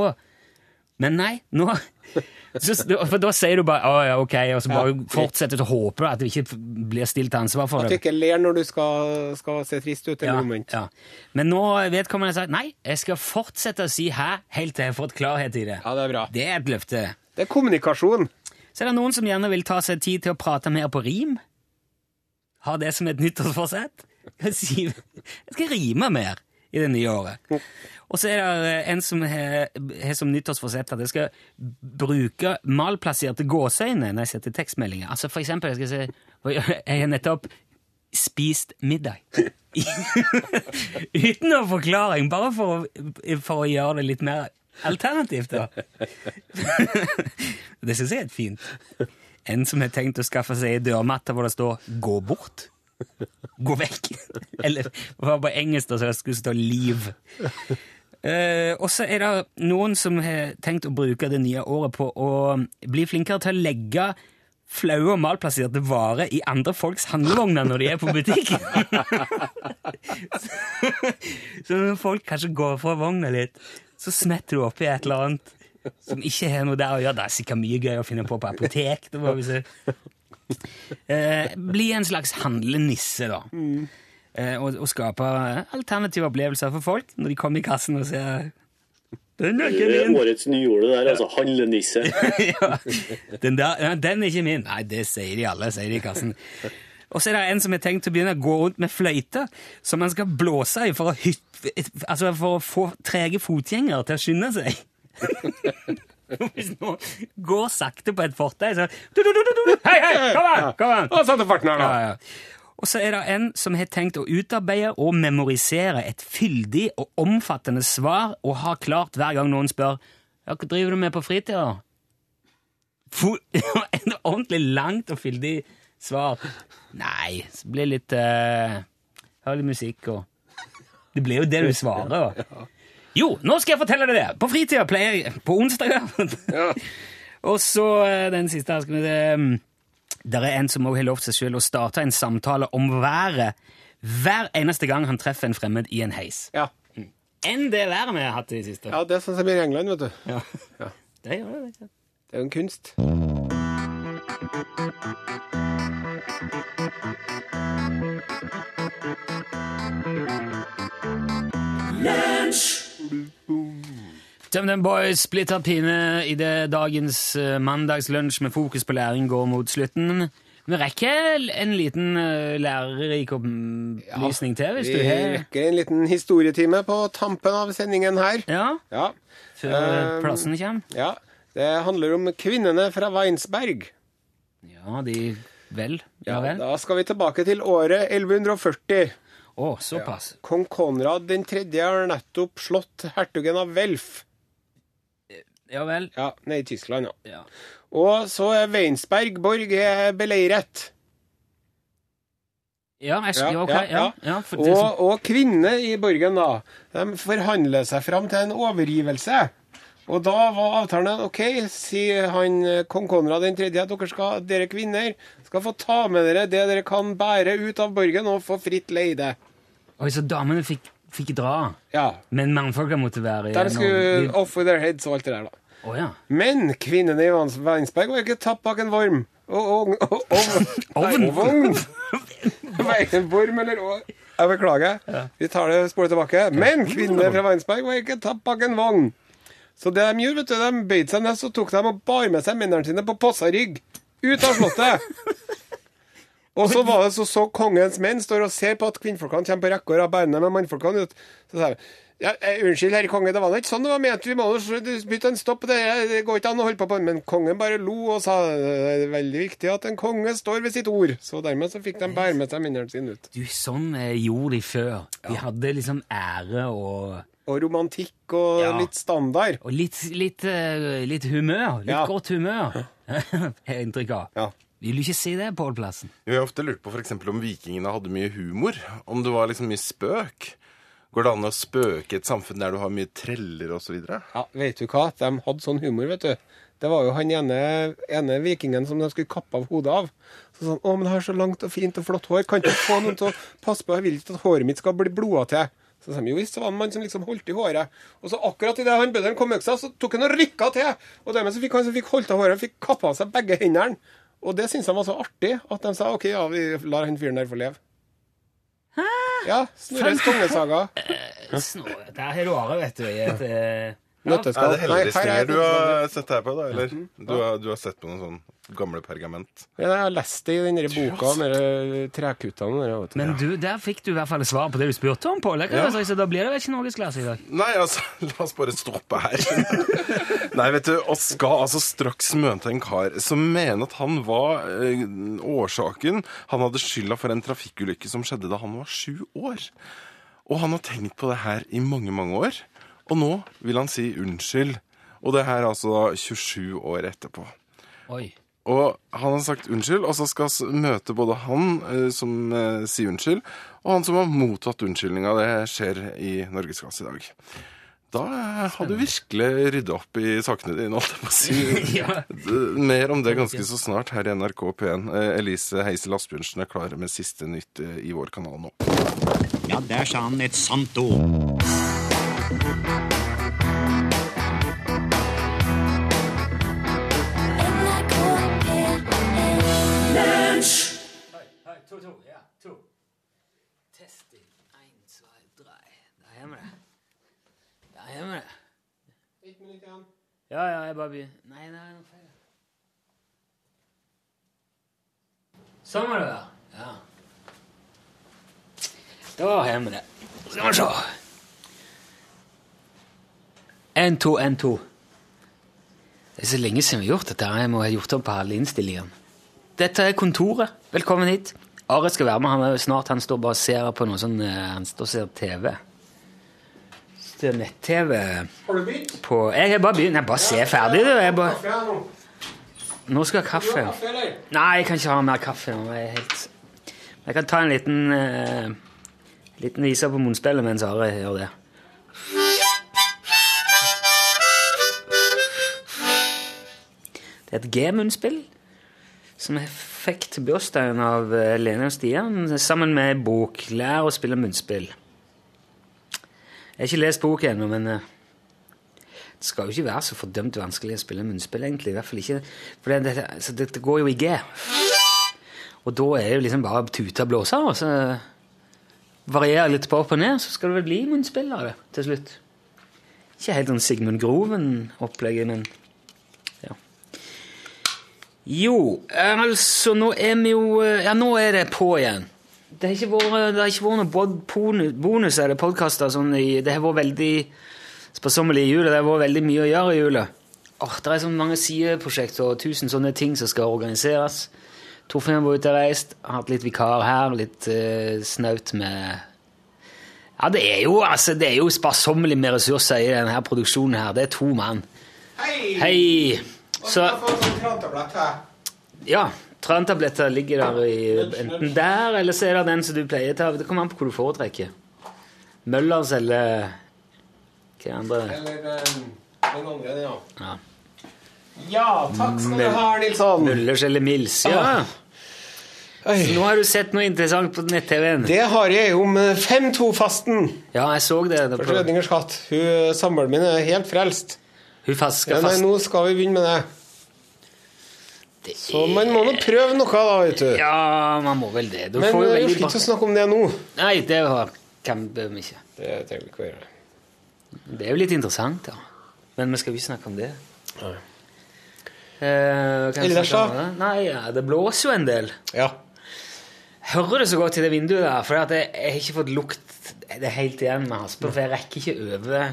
C: Men nei, nå så, For da sier du bare å ja, ok, og så bare fortsetter du å håpe at du ikke blir stilt til ansvar for
D: At du
C: det.
D: ikke ler når du skal, skal se trist ut, eller
C: Ja,
D: omvendt.
C: ja. Men nå eh, vedkommende har sagt nei, jeg skal fortsette å si hæ helt til jeg har fått klarhet i det.
D: Ja, det er bra.
C: Det er et løfte.
D: Det er kommunikasjon.
C: Så er det noen som gjerne vil ta seg tid til å prate mer på rim. Ha det som et nyttårsforsett. Jeg sier, jeg skal rime mer i det nye året. Og så er det eh, en som har har som nyttårsforsett at jeg skal bruke malplasserte gåseøyne når jeg setter tekstmeldinger. Altså for eksempel, jeg skal si Jeg har nettopp spist middag. Uten noen forklaring, bare for, å- for å gjøre det litt mer alternativt, da. Det syns jeg er et fint. En som har tenkt å skaffe seg ei dørmatte hvor det står 'gå bort'. Gå vekk. Eller det var på engelsk, da, så det skulle stå 'liv'. Eh, og så er det noen som har tenkt å bruke det nye året på å bli flinkere til å legge flaue og malplasserte varer i andre folks handlevogner når de er på butikken. så når folk kanskje går fra vogna litt, så smetter du oppi et eller annet som ikke har noe der å gjøre. Det er sikkert mye gøy å finne på på apotek. Det må vi se. Eh, bli en slags handlenisse, da. Eh, og, og skape eh, alternative opplevelser for folk når de kommer i kassen og ser Den er ikke min!
E: Årets nyord der, altså. Handlenisse.
C: ja. den, der, ja, den er ikke min. Nei, det sier de alle, sier de i kassen. Og så er det en som har tenkt å begynne å gå rundt med fløyte, som man skal blåse i for å, hyt, altså for å få trege fotgjengere til å skynde seg. Hvis noen går sakte på et fortau, så du, du, du, du, du. Hei, hei, kom an! Kom an.
D: Å, satte farten her, da!
C: Ja, ja. Og så er det en som har tenkt å utarbeide og memorisere et fyldig og omfattende svar og har klart hver gang noen spør «Ja, hva driver du med på fritida? Fo- En ordentlig langt og fyldig svar. Nei, så blir det litt uh, Hør litt musikk og Det blir jo det du svarer. da. Jo, nå skal jeg fortelle deg det! På fritida pleier jeg På onsdager. og så eh, den siste her skal vi se. Der er en som også har lovt seg selv å starte en samtale om været hver eneste gang han treffer en fremmed i en heis.
D: Ja.
C: Enn det været vi har hatt i det siste.
D: ja, det er sånn som i England, vet du.
C: Ja.
D: Ja.
C: Det gjør det, vet du.
D: Det er jo en kunst.
C: Tømden Boys, splitter pine idet dagens eh, mandagslunsj med fokus på læring går mot slutten. Vi rekker en liten eh, lærerik opplysning til, hvis
D: Vi
C: du har
D: rekker en liten historietime på tampen av sendingen her.
C: Ja,
D: Ja.
C: før eh,
D: Um,
C: plassen kommer.
D: ja. Det handler om kvinnene fra Weinsberg.
C: Ja, de Vel. Ja
D: Ja,
C: vel. Å,
D: da skal vi tilbake til året 1140.
C: såpass.
D: Kong Konrad den tredje har nettopp slått hertugen av Welf.
C: Ja vel.
D: Ja, nede i Tyskland, ja.
C: Ja.
D: Og så er Weinsberg borg er beleiret.
C: Ja, jeg,
D: Ja,
C: ja, ok,
D: ja,
C: ja, ja.
D: ja.
C: for det,
D: Og, og kvinnene i borgen da, de forhandler seg fram til en overgivelse. Og da var avtalen OK, sier han eh, kong Konrad 3., at dere, skal, dere kvinner skal få ta med dere det dere kan bære ut av borgen, og få fritt leide.
C: Oi, så damene fikk, fikk dra,
D: Ja.
C: men mannfolka måtte være
D: De skulle
C: igjennom.
D: off with their heads og alt det der, da.
C: Å ja.
D: Men kvinnene i Vans- Vansberg var ikke tapt bak en vorm. Og, og, og, og,
C: Ovn.
D: Nei, Vogn! Verken vorm eller å... Jeg beklager. Vi tar det spolet tilbake. Men kvinnene fra Vansberg var ikke tapt bak en vogn. Så det de gjorde, vet du, de bøyde seg ned, så tok de og bar med seg mennene sine på Possarygg ut av slottet. Og så var det så, så kongens menn står og ser på at kvinnfolkene kommer på rekke og rad bærende med mannfolkene ut. Så sa vi ja, eh, unnskyld, herre konge, det var da ikke sånn det var ment. Vi må jo s- bytte en stopp. Det, det går ikke an å holde på på Men kongen bare lo og sa det er veldig viktig at en konge står ved sitt ord. Så dermed så fikk de bære med seg minnene sine ut.
C: Du, sånn eh, gjorde de før. De hadde liksom ære og,
D: Og romantikk og
C: Ja.
D: litt standard.
C: og litt, litt, eh, litt humør. Litt
D: Ja.
C: godt humør, har jeg inntrykk av.
D: Ja.
C: Vil du ikke si det, Pål Plassen?
F: Vi har ofte lurt på for eksempel om vikingene hadde mye humor. Om det var liksom mye spøk. Går det an å spøke i et samfunn der du har mye treller osv.?
D: Ja, vet du hva? De hadde sånn humor, vet du. Det var jo han ene, ene vikingen som de skulle kappe av hodet av. Så sånn, å, men jeg har så langt og fint og flott hår, kan ikke få noen til å passe på, jeg vil ikke at håret mitt skal bli blodet til. Så sa de, jo visst, så var det en mann som liksom holdt i håret. Og så akkurat idet han bøddelen kom med øksa, så tok han og rykka til. Og dermed så fikk han som fikk holdt av håret, fikk kappa av seg begge hendene. Og det syntes de var så artig at de sa OK, ja, vi lar han fyren der få leve. Ja, Snorres kongesaga.
C: Snorre, der har du Are, vet du. I et, eh,
F: Er
D: Nøtteskall.
F: det heldigvis
D: her er
F: stringer du
D: nøtteskall.
F: har sett deg på, da? Eller du har, du har sett på noen sånn gamle pergament?
D: Ja, Jeg har lest det i den der boka om de trekuttene. der, vet du.
C: men du, der fikk du i hvert fall svar på det du spurte om, Pål. Det kan
F: Ja.
C: jeg si, Så da blir det vel ikke norgesklasse i dag.
F: Nei, altså, la oss bare stoppe her. Nei, vet du, oss skal altså straks møte en kar som mener at han var eh, årsaken Han hadde skylda for en trafikkulykke som skjedde da han var sju år. Og han har tenkt på det her i mange, mange år. Og nå vil han si unnskyld. Og det her er altså da 27 år etterpå.
C: Oi.
F: Og han har sagt unnskyld, og så skal vi møte både han eh, som eh, sier unnskyld, og han som har mottatt unnskyldninga. Det skjer i Norgesklasse i dag. Da eh, har du virkelig rydda opp i sakene dine, holdt jeg på å si.
C: Ja.
F: D- Mer om det ganske så snart her i NRK P1. Eh, Elise Heisel Asbjørnsen er klar med siste nytt eh, i vår kanal nå.
G: Ja, der sa han et sant ord.
C: To, to, ja, to. Testing. Ein, zwei, drei. Der har vi det. Der har vi det. Ja, ja, jeg bare begynner. Nei, nei, nå feil. Sånn var det, da. Ja. Da har vi det. Skal vi se. En, to, en, to. Det er så lenge siden vi har gjort dette. her. Jeg må ha gjort opp på alle innstillingene. Dette er kontoret. Velkommen hit. Are skal være med. Han er jo snart. Han står bare og ser på noe sånn eh, Han står og ser TV. Ser nett-TV
D: Har du begynt?
C: på Jeg har bare begynt. Jeg bare ser ferdig, du. Jeg bare...
D: Kaffe her nå.
C: Nå skal jeg ha
D: Du har
C: kaffe.
D: kaffe, eller?
C: Nei, jeg kan ikke ha mer kaffe. nå. Jeg, er helt... jeg kan ta en liten eh, liten viser på munnspillet mens Are gjør det. Det er et G-munnspill som jeg fikk til bursdagen av eh, Lene og Stian sammen med ei bok. Lær å spille munnspill. Jeg har ikke lest boka ennå, men eh, det skal jo ikke være så fordømt vanskelig å spille munnspill, egentlig. I hvert fall ikke. For det, det, altså, det, det går jo i G. Og da er det jo liksom bare å tute og blåse, og så varierer litt på opp og ned, så skal det vel bli munnspill av det til slutt. Ikke helt sånn Sigmund Groven-opplegget, men ja. Jo, eh, altså, nå er vi jo eh, Ja, nå er det på igjen. Det har ikke vært, eh, det har ikke vært noen bod- ponu- bonus eller podkaster sånn i Det har vært veldig sparsommelig i jula. Det har vært veldig mye å gjøre i jula. Åh, det er så mange sideprosjekter og tusen sånne ting som skal organiseres. Torfinn har vært ute og reist, har hatt litt vikar her, litt eh, snaut med Ja, det er jo, altså, det er jo sparsommelig med ressurser i denne her produksjonen her. Det er to mann.
D: Hei!
C: Hei! Så
D: Jeg har fått en krantablett her.
C: ja, trantabletter ligger der i, enten der, eller så er det den som du pleier å ta. Det kommer an på hva du foretrekker. Møllers eller hva andre
D: Eller eh, den andre, ja.
C: Ja.
D: Ja, takk skal du ha, Nilsson. Ah.
C: Møllers eller Mils. Ja. Så nå har du sett noe interessant på nett-TV-en.
D: Det har jeg om eh, 5-2-fasten.
C: Ja, jeg så det. det
D: For
C: på,
D: Schrødingers katt. Hun, eh, Samboeren min er helt frelst.
C: hun fast skal
D: Ja, nei,
C: fast.
D: nå skal vi begynne med det. Så man må nå prøve noe, da, vet du.
C: Ja, man må vel det. Du
D: Men eh,
C: får jo
D: jeg
C: veldig
D: orker ikke å
C: bak...
D: snakke om det nå.
C: Nei, det har- kan vi ikke.
D: Det trenger vi ikke å gjøre.
C: Det er jo litt interessant, da. Men vi skal jo ikke snakke om det. Eh, kan vi
D: Ellers
C: snakke om det? Nei, ja, det blåser jo en del.
D: Ja.
C: hører det så godt i det vinduet der, for at jeg, jeg har ikke fått lukt det helt igjen med haspe, for jeg rekker ikke over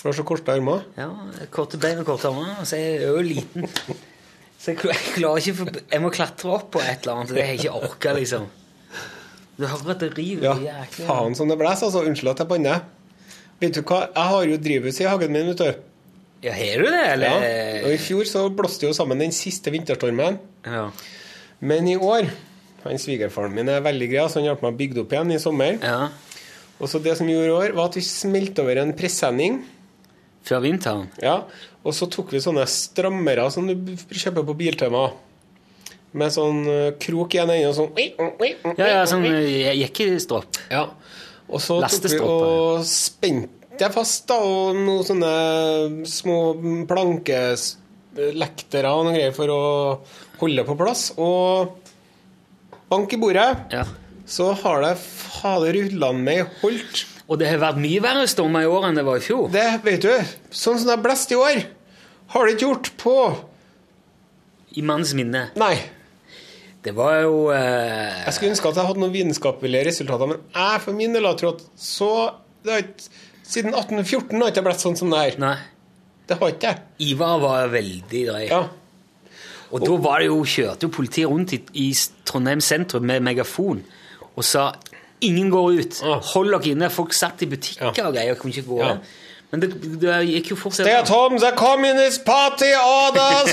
D: Du har så korte armer.
C: ja, korte bein og korte armer, og så er jeg jo liten. Så jeg, kl- jeg klarer ikke, for, jeg må klatre opp på et eller annet, det har jeg ikke orket, liksom. Du hører at det river
D: Ja,
C: jæklig.
D: faen som det blæs, altså. Unnskyld at jeg banner. Vet du hva, jeg har jo drivhus i hagen min, vet du.
C: Ja, har du det,
D: Ja.
C: eller?
D: Og i fjor så blåste jo sammen den siste vinterstormen.
C: Ja.
D: Men i år han Svigerfaren min er veldig grei, så han hjalp meg å bygge det opp igjen i sommer.
C: Ja.
D: Og så det som vi gjorde i år, var at vi smelte over en presenning
C: Før vinteren?
D: Ja, og så tok vi sånne strammere som du b- kjøper på Biltema. Med sånn eh, krok i en ende og sånn
C: Ja, ja, sånn eh, jekkestropp.
D: Ja. Og så tok vi
C: Lastestropper.
D: og spente jeg fast da, og noen sånne små plankelektere og noen greier for å holde på plass. Og bank i bordet,
C: Ja.
D: så har det fader rullene meg holdt.
C: Og det har vært mye verre stormer i år enn det var i fjor.
D: Det, vet du, sånn som det har blåst i år, har det ikke gjort på
C: I manns minne.
D: Nei.
C: Det var jo eh,
D: Jeg skulle ønske at jeg hadde noen vitenskapelige resultater, men jeg for min del har trodd så det har ikke, Siden 1814 har det ikke blitt sånn som det her.
C: Nei.
D: Det har ikke jeg.
C: Ivar var veldig drøy.
D: Ja.
C: Og da var det jo, kjørte jo politiet rundt i, i Trondheim sentrum med megafon og sa ingen går ut,
D: Ja.
C: hold dere inne. Folk satt i butikker
D: Ja.
C: og greier og kunne ikke gå.
D: Ja.
C: av. Men det, det gikk jo fortsatt
D: Stay at home, the communist party orders!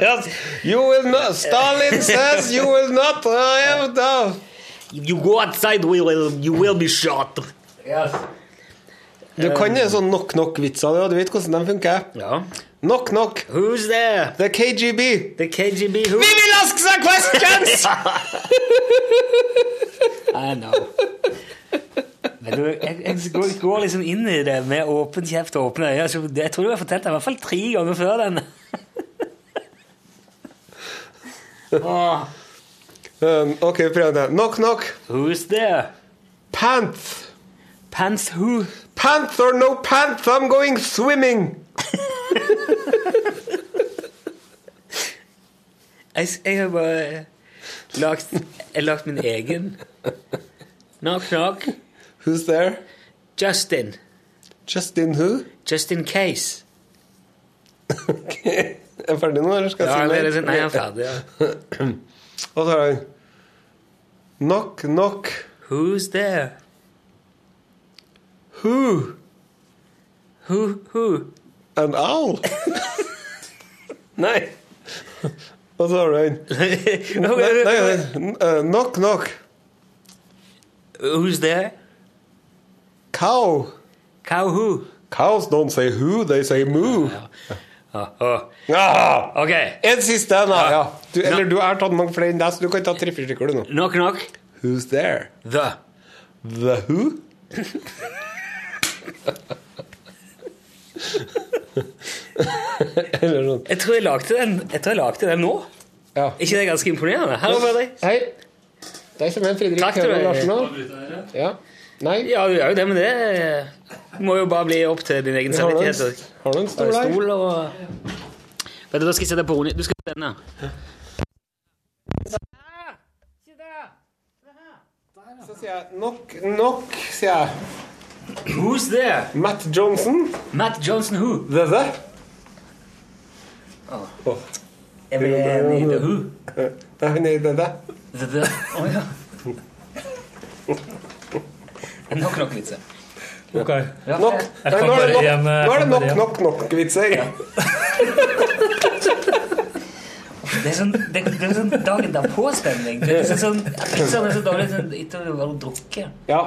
D: Yes. You will not Stalin says you will not uh, have the-
C: You go outside, we will, you will be shot.
D: Du
C: Eh.
D: kan jo sånn knock-knock-vitser, du, og du vet hvordan de funker.
C: Ja.
D: Knock-knock,
C: Who's there?
D: the KGB.
C: The KGB who?
D: We will ask the questions!
C: I know. Men du, jeg, jeg går, går liksom inn i det med åpen kjeft og åpne øyne. så Jeg tror du har fortalt det i hvert fall tre ganger før den. Åh,
D: Um, ok, prøv det. Knock-knock,
C: who's there?
D: panth.
C: Pants who?
D: Pants or no pants, I'm going swimming!
C: Jeg, s- jeg har bare lagt, jeg har lagt min egen. Knock, knock.
D: Who's there?
C: Justin.
D: Justin who?
C: Justin Case.
D: Er han ferdig nå, eller skal
C: Ja,
D: jeg
C: eller er det
D: si
C: sånn- nei, jeg er ferdig. Ja.
D: Og så har han Knock, knock,
C: Who's there?
D: who?
C: Who, who?
D: An owl? Nei. Og så har du han Nei, nei, nei. eh, Knock, knock,
C: Who's there?
D: cow.
C: Cow who?
D: Cows don't say who, they say moo.
C: Åh, åh.
D: Ah!
C: Ok.
D: En siste en, da. Ja. Du, eller
C: Ja.
D: du har tatt mange flere enn deg, så du kan ta tre-fire stykker, du nå.
C: Knock, knock.
D: Who's there?
C: The.
D: The who? Eller noe.
C: Jeg tror jeg lagde den, jeg tror jeg lagde den nå.
D: Ja.
C: ikke det ganske imponerende? Hallo, Fredrik.
D: Hei. Der kommer en Fredrik
C: Takk til
D: Haugen
C: deg.
D: Larsen nå. Ja. Nei,
C: Ja, du gjør jo det, men det må jo bare bli opp til din egen
D: har du
C: samvittighet.
D: en,
C: og-
D: har du en
C: og
D: stol her?
C: Stol og Vet du, da skal jeg sette på Ronny. Du skal sette denne.
D: Så sier jeg nok, nok, sier jeg.
C: Who's there?
D: Matt Johnson.
C: Matt Johnson who?
D: The the.
C: Jeg vil gjerne vite who.
D: Nei, nei, the the.
C: The, the. Å, ja. Nok nok vitser.
H: Ok.
C: Ja.
D: Nok.
H: Jeg
D: Nei,
H: kan
D: nå er
H: bare
D: det
H: igjen,
D: nok,
H: jeg
D: nå er det
H: kan
D: nok,
H: bare
D: nok, nok vitser.
C: Det er sånn, det, det er sånn dagen derpå-stemning. Det er sånn, sånn, pizzaen er så dårlig sånn, etter å ha drukket.
D: Ja.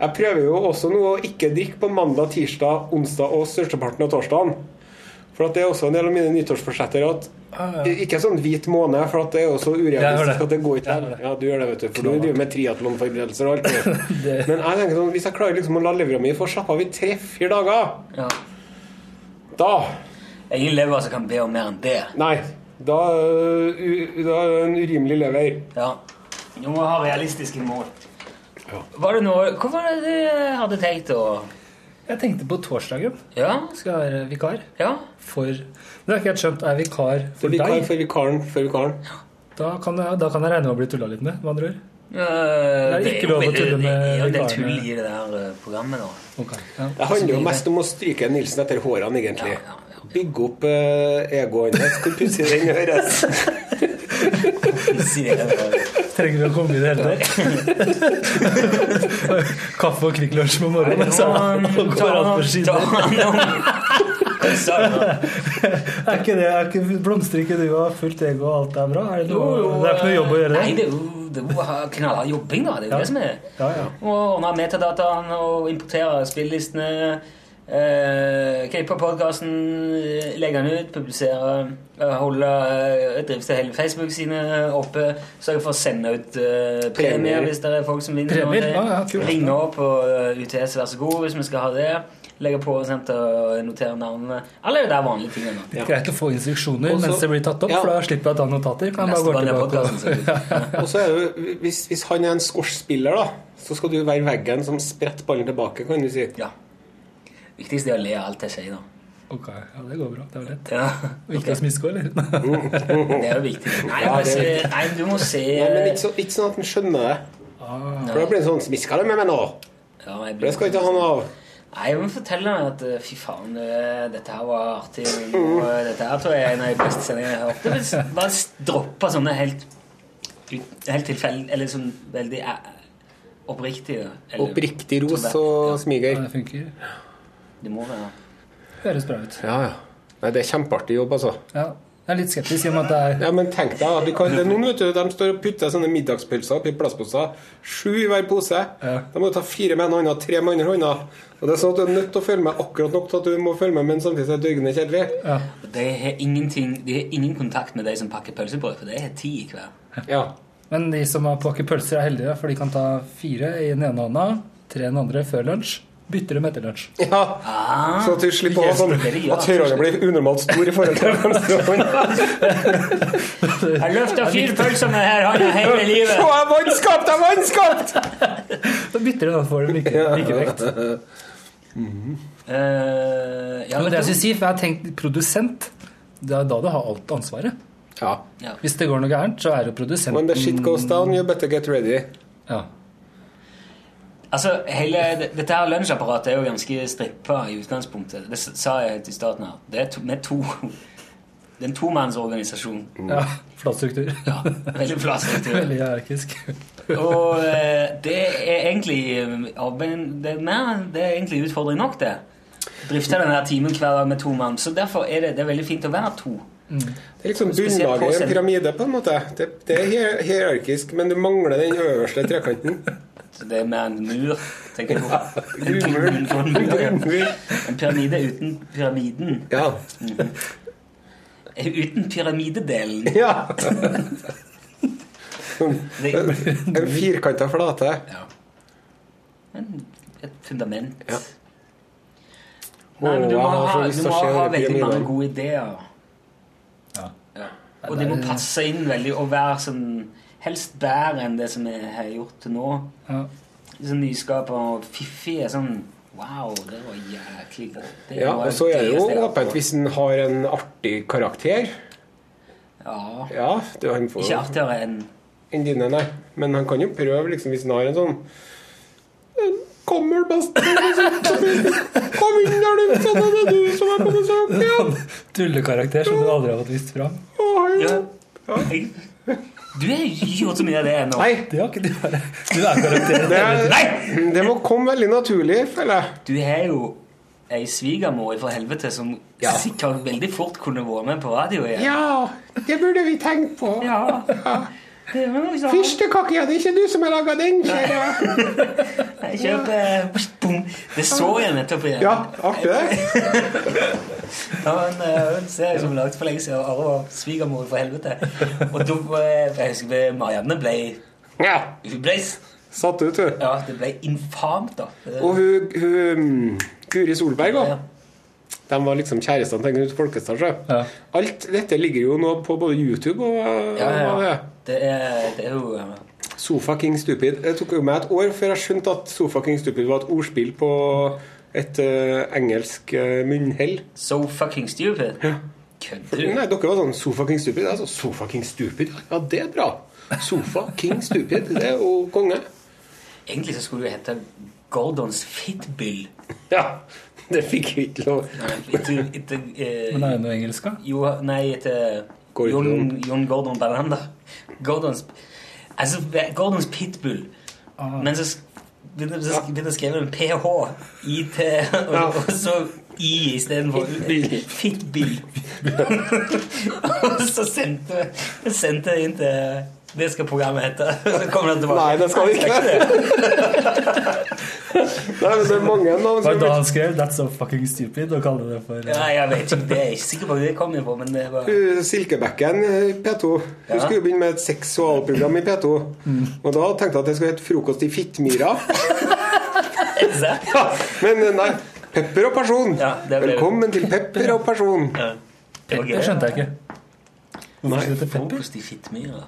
D: Jeg prøver jo også nå å ikke drikke på mandag, tirsdag, onsdag og størsteparten av torsdagen. For at det er også en del av mine nyttårsforsetter at Ikke sånn hvit måned, for at det er jo så
H: Ah, hører det.
D: urealistisk at det går ikke
H: Jeg hører
D: an. Ja, du gjør det, vet du. For du driver med triatlonforberedelser og alt mulig. Men jeg tenker sånn, hvis jeg klarer liksom å la levra mi få slappe av i tre-fire dager,
C: Ja.
D: da
C: Jeg er ingen lever som kan be om mer enn det.
D: Nei. Da, øh, u, da er det en urimelig lever.
C: Ja. Du må ha realistiske mål. Var det noe, hva var det du hadde tenkt å
H: Jeg tenkte på torsdagen.
C: Ja?
H: Skal jeg være vikar
C: ja. Eh,
H: for Men det har ikke helt skjønt. Er jeg vikar
D: Det er
H: for
D: vikar
H: deg?
D: for vikaren for vikaren.
H: Da kan, jeg, da kan jeg regne med å bli tulla litt med, med andre ord.
C: Eh, det
H: ikke lov å tulle med
C: det er jo en del
H: vikarene.
C: tull i det der eh, programmet nå.
H: Ok, ja.
D: Det handler jo mest om å stryke Nilsen etter hårene, egentlig.
C: Ja, ja,
D: Bygge opp eh, egoet hans. Hvor pussig den høres.
C: Si det der.
H: Trenger du å komme i det hele tatt? Kaffe og Kvikk Lunsj på
C: Nå,
H: morgenen, så nå går alt på
C: ta-
H: skinner.
C: Hva sa du nå?
H: Er ikke det, er ikke blomstrer ikke du og fullt ego og alt er bra? Er det,
C: Jo,
H: noe,
C: jo,
H: det er ikke noe jobb å gjøre?
C: Nei, det er jo, det er jo ha- knallhard jobbing, da. Det er jo det som er
H: Ja, ja.
C: Å ordne metadataen og importere spillelistene. eh, Eh, Klippe podkasten, legge den ut, publisere, eh, holde eh, drifte hele Facebook-sidene oppe. Sørge for å sende ut eh, premier
D: Premier.
C: hvis det er folk som vinner.
H: Premier?
C: noe.
H: Ja, ja, kult.
C: Ringe opp på eh, UTS, vær så god, hvis vi skal ha det. Legge på og sende og notere navnene. Alle er jo der vanlige ting ennå.
H: Det er greit å få instruksjoner
I: Også-
H: mens det blir tatt opp,
I: Ja.
H: for da slipper jeg å ta notater. Kan jeg
C: Neste
H: bare
C: gang det er
H: gå tilbake
C: podcasten, så er det
H: og- Ja.
D: Og så er det jo, hvis, hvis han er en squash-spiller, da, så skal du være veggen som spretter ballen tilbake, kan du si.
C: Ja. Viktigst er å le av alt det skjer, da.
H: Ok, ja, det går bra. Det var lett.
C: Ja.
H: Ikke å smiske, eller? Mm,
C: Det er jo viktig. Nei,
D: Ja,
C: bare
D: det er
C: se- nei du må se
D: Nei, men ikke, så, ikke sånn at han skjønner det.
C: Ah.
D: For da blir det sånn Smiska det med meg nå!
C: Ja, jeg
D: Det skal ikke han av.
C: Nei, men fortell henne at eh, fy faen, eh, dette her var artig. Og eh, dette her tror jeg er en av de beste sendingene jeg har hørt. Det vil s- Bare s- droppe sånne helt, helt tilfeldig Eller sånn veldig eh, oppriktige. eller-
D: Oppriktig ros og
H: Ja,
D: smiger.
H: det funker.
C: Det må være
H: Høres bra ut.
D: Ja, ja. Nei, det er kjempeartig jobb, altså.
H: Ja. Jeg er litt skeptisk i og med at det er
D: Ja, men tenk deg, da, du kan, det er noen vet du, de står og putter sånne middagspølser oppi plastposer. Sju i hver pose. Da må du ta fire med en hånd og tre med andre hånda. Og det er sånn at du er nødt til å følge med akkurat nok til at du må følge med, men samtidig er døgnet kjedelig.
C: De har ingenting De har ingen kontakt med de som pakker pølsebrød, for de har ti hver.
D: Ja.
H: Men de som har pakker pølser, er heldige, for de kan ta fire i den ene hånda, tre i den andre før lunsj, bytter dem etter lunsj.
D: ja.
C: Ah,
D: Så at du slipper å ha sånn at høyrehånda blir unormalt stor i forhold til venstre hånd.
C: Jeg løfter fire pølser med her hånda hele
D: Se,
C: livet. Eh,
D: jeg er vannskapt! Jeg er vannskapt!
H: Så bytter de, da får de like, likevekt.
C: Eh, ja,
H: Ja, men det
C: vet
H: jeg
C: du-
H: skulle si, for jeg har tenkt produsent, det er da du har alt ansvaret.
D: Ja.
H: Hvis det går noe gærent, så er det
D: When the
H: produsenten.
D: shit goes down, you better get ready.
H: Ja.
C: Altså, hele, det- Dette her lunsjapparatet er jo ganske strippa i utgangspunktet. Det s- sa jeg helt i starten her. Det er to, med to Det er en tomannsorganisasjon.
H: ja. Flat struktur.
C: Ja, veldig flat struktur.
H: Mm. Veldig hierarkisk.
C: Og eh, det er egentlig eh, arbeid, det, er mer- det er egentlig utfordring nok, det. Drifte den her timen hver dag med to mann. Så derfor er det, det er veldig fint å være to.
D: Det er liksom
C: Spesielt
D: bunnlaget i
C: påsen.
D: en pyramide, på en måte. Det, det er hier- hierarkisk, men du mangler den øverste trekanten.
C: Så det er mer en mur, tenker jeg på. En
D: Grunnmur.
C: grunnmur, ja. En pyramide uten pyramiden.
D: Ja.
C: Uten pyramidedelen.
D: ja.
C: Det,
D: En firkanta flate.
C: En, et fundament.
D: Ja.
C: Nei, men du må
D: Åh, jeg har så
C: ha, du
D: lyst til å
C: må
D: se
C: ha
D: den
C: veldig
D: pyramiden.
C: mange gode ideer.
H: Ja.
C: Ja. Og de må passe inn veldig og være sånn Helst bedre enn det som jeg har gjort til nå.
H: Ja.
C: Sånn nyskaper og fiffige sånn Wow, det var jæklig godt. Det
D: Ja,
C: var
D: og så er det jo
C: jeg har
D: åpent
C: fått.
D: hvis en har en artig karakter.
C: Ja.
D: Ja, du, han får
C: Ikke artigere enn
D: enn dine, nei. Men han kan jo prøve, liksom, hvis han har en sånn «Eh, Kommer best liksom, kom inn. Kom inn, er det sånn at det er du som er på besøk igjen?
H: Tullekarakter som du aldri har fått vist fram.
D: Å, hei.
C: ja. Jeg- Du har jo ikke gjort så mye av det ennå.
D: Nei,
H: Det har ikke du bare. Du er karakteren.
D: det, er,
C: Nei!
D: det må komme veldig naturlig, føler jeg.
C: Du har jo ei svigermor fra helvete som sikkert veldig fort kunne vært med på radio igjen.
D: Ja, det burde vi tenkt på.
C: Ja. Det var noe sånn.
D: Fyrstekake, ja, det er ikke du som har laga den, ser jeg.
C: Jeg kjøper Boom. Det så jeg nettopp igjen.
D: Ja, artig det.
C: Ja, men, eh, Hun ser jeg som lagd for lenge siden. Arve var svigermor fra helvete. Og da eh, Jeg husker Marianne ble
D: Ja.
C: Hun ble
D: Satt ut, du.
C: Ja, det ble infamt, da. Det-
D: Og hun, hun Guri Solberg
C: Ja.
D: òg. De var liksom kjærestene til Knut Folkestad. så.
H: Ja.
D: Alt dette ligger jo nå på både YouTube og,
C: Ja, ja,
D: og
C: ja.
D: det.
C: Det er, det er jo eh,
D: Sofa King Stupid. Det tok jo meg et år før jeg skjønte at Sofa King Stupid var et ordspill på et eh, engelsk eh, munnhell.
C: so fucking stupid. Kødder du?
D: Nei, dere var sånn Sofa King Stupid. Altså, Sofa King Stupid, ja, det er bra. Sofa King Stupid, det er jo konge.
C: Egentlig så skulle det hete Gordons Fitbill.
D: Ja, det fikk vi ikke lov.
C: Etter, etter, eh,
H: Men det er jo noe engelsk, da.
C: jo, nei, etter
D: Gordon.
C: John, John Gordon Berlanda. Gordons Altså, Gordons Pitbull.
D: Ah.
C: Men så sk- begynte så sk- begynte jeg å skrive med PH, IT, og, og så I istedenfor Fitbill. og så sendte jeg sendte jeg inn til Det skal programmet hete. Så kommer den tilbake.
D: Nei, det skal vi ikke. Nei, men det er mange navn
H: Var
D: som
H: det da han skrev 'That's so fucking stupid' og kalte det for eh,
C: Nei, jeg vet ikke. Det er jeg ikke sikker på hvor det kom inn på, men det var
D: Hun, Silkebekken i P2. Hun skulle jo begynne med et seksualprogram i P2.
C: Mm.
D: Og da tenkte jeg at det skulle hete 'Frokost i Fittmyra'.
C: Exact.
D: Men eh, nei. Pepper og person.
C: Ja, det ble det.
D: Velkommen til Pepper og person.
C: Det var gøy.
H: Det skjønte jeg ikke. Hvorfor skulle det hete Pepper?
C: Frokost i Fittmyra.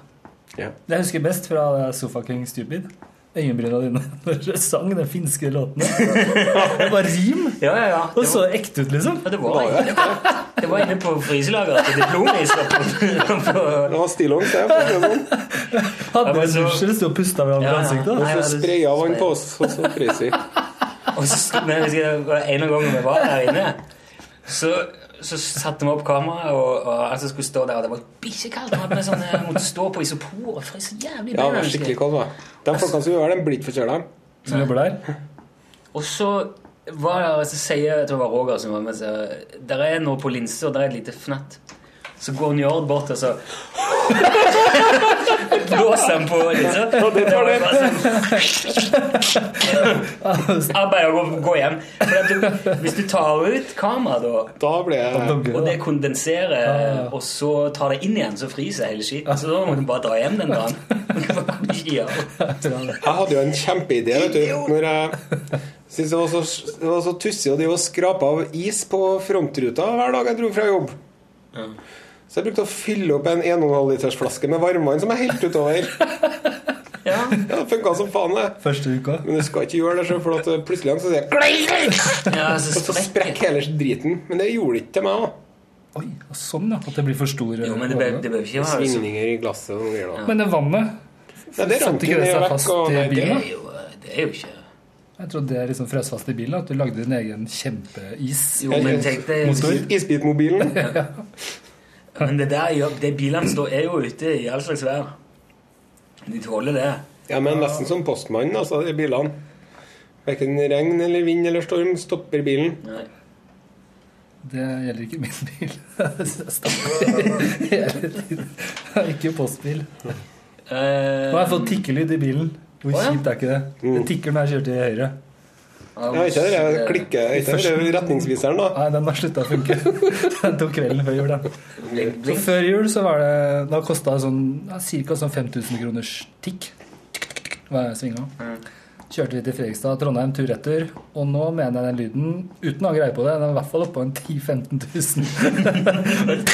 H: Det jeg husker best fra det er 'So fucking stupid'. Øyenbryna dine når du sang den finske låten. Det var rim!
C: Ja, ja, ja.
H: Og
C: Det
H: så
C: var,
H: ekte ut, liksom.
C: ja, det var, inne på, det var inne på fryselageret til diplomet. så på- på-
D: Det var stillongs, det. for å si det sånn.
H: Hadde
C: Ja, men
H: en
C: så-
H: dusj eller sto og pusta hverandre i
C: Ja, ja.
H: ansiktet.
C: Nei, ja,
D: Så
C: det-
D: spraya vann på oss, og så frøs vi.
C: Og så, sk- men jeg husker, det var en av gangene vi var der inne, så, så satte vi opp kameraet, og, og altså skulle stå der, og det var bikkjekaldt. og Vi sånn, eh, måtte stå på isopor, og det frøs så jævlig
D: Ja, det
C: beina,
D: var
C: husker jeg.
D: skikkelig kaldt. da. De folkene som gjør det, blir ikke forkjøla.
H: Som jobber der.
C: Og så var det, så sier jeg tror det var Roger som var med, så der er noe på linse, og der er et lite fnatt. Så går Njord bort, og så blåser han på linsa. Det var jo bare sånn Arbeid og gå, gå hjem. For at du, hvis du tar ut kameraet da,
D: Da ble jeg
H: Blogger,
C: og
H: da.
C: det kondenserer, og så tar det inn igjen, så fryser hele skiten. Så da må du bare dra hjem den dagen. Hva kan du ikke gjøre?
D: Jeg hadde jo en kjempeidé, vet du. Når jeg syntes det var så, det var så tussig å drive og skrape av is på frontruta hver dag jeg dro fra jobb. Så jeg brukte å fylle opp en 1,5 liters flaske med varmvann som jeg helte utover.
C: Ja.
D: Ja, det funka som faen, det.
H: Første uka.
D: Men du skal ikke gjøre det sjøl, for at plutselig så sier jeg «Klei!»
C: ja, så
D: så
C: sprekker
D: sprekker hele driten. Men det gjorde det ikke til meg, da.
H: Oi, og sånn, ja. At det blir for stor eh,
C: Jo, men det
H: overgang.
C: behøver det behøver ikke være så
D: Svingninger i glasset og sånne greier. da.
H: Men det vannet
D: Nei, det
H: Satte
D: rant
H: ikke
D: jo
H: det
D: ned
H: seg
D: og vekk.
H: fast
D: Og,
H: i
D: nei, det,
H: bilen?
C: Det er jo, det er jo ikke
H: Jeg trodde det liksom frøs fast i bilen. At du lagde din egen kjempeis.
C: Jo, men tenk deg
D: Is- Isbitmobilen.
C: Men det der gjør Det bilene står, er jo ute i all slags vær. De tåler det.
D: Ja, men nesten som postmannen, altså, de bilene. Verken regn eller vind eller storm stopper bilen.
C: Nei.
H: Det gjelder ikke min bil. Jeg stammer hele tiden. Det er ikke postbil.
C: Eh,
H: Nå har jeg fått tikkelyd i bilen. Hvor
C: Å, ja.
H: kjipt er ikke det? Det tikker når jeg kjører til høyre.
D: Jeg vet ikke, det er klikke, jeg vet ikke, det er retningsviseren, da.
H: Nei, den har slutta å funke. Den tok kvelden før jul, den. Så før jul så var det Da kosta det sånn ja, ca. sånn 5000 kroners tikk hver svinga. Kjørte vi til Fredrikstad, Trondheim tur-retur. Og nå mener jeg den lyden, uten å ha greie på det, den er i hvert fall oppå en 10 000-15 000.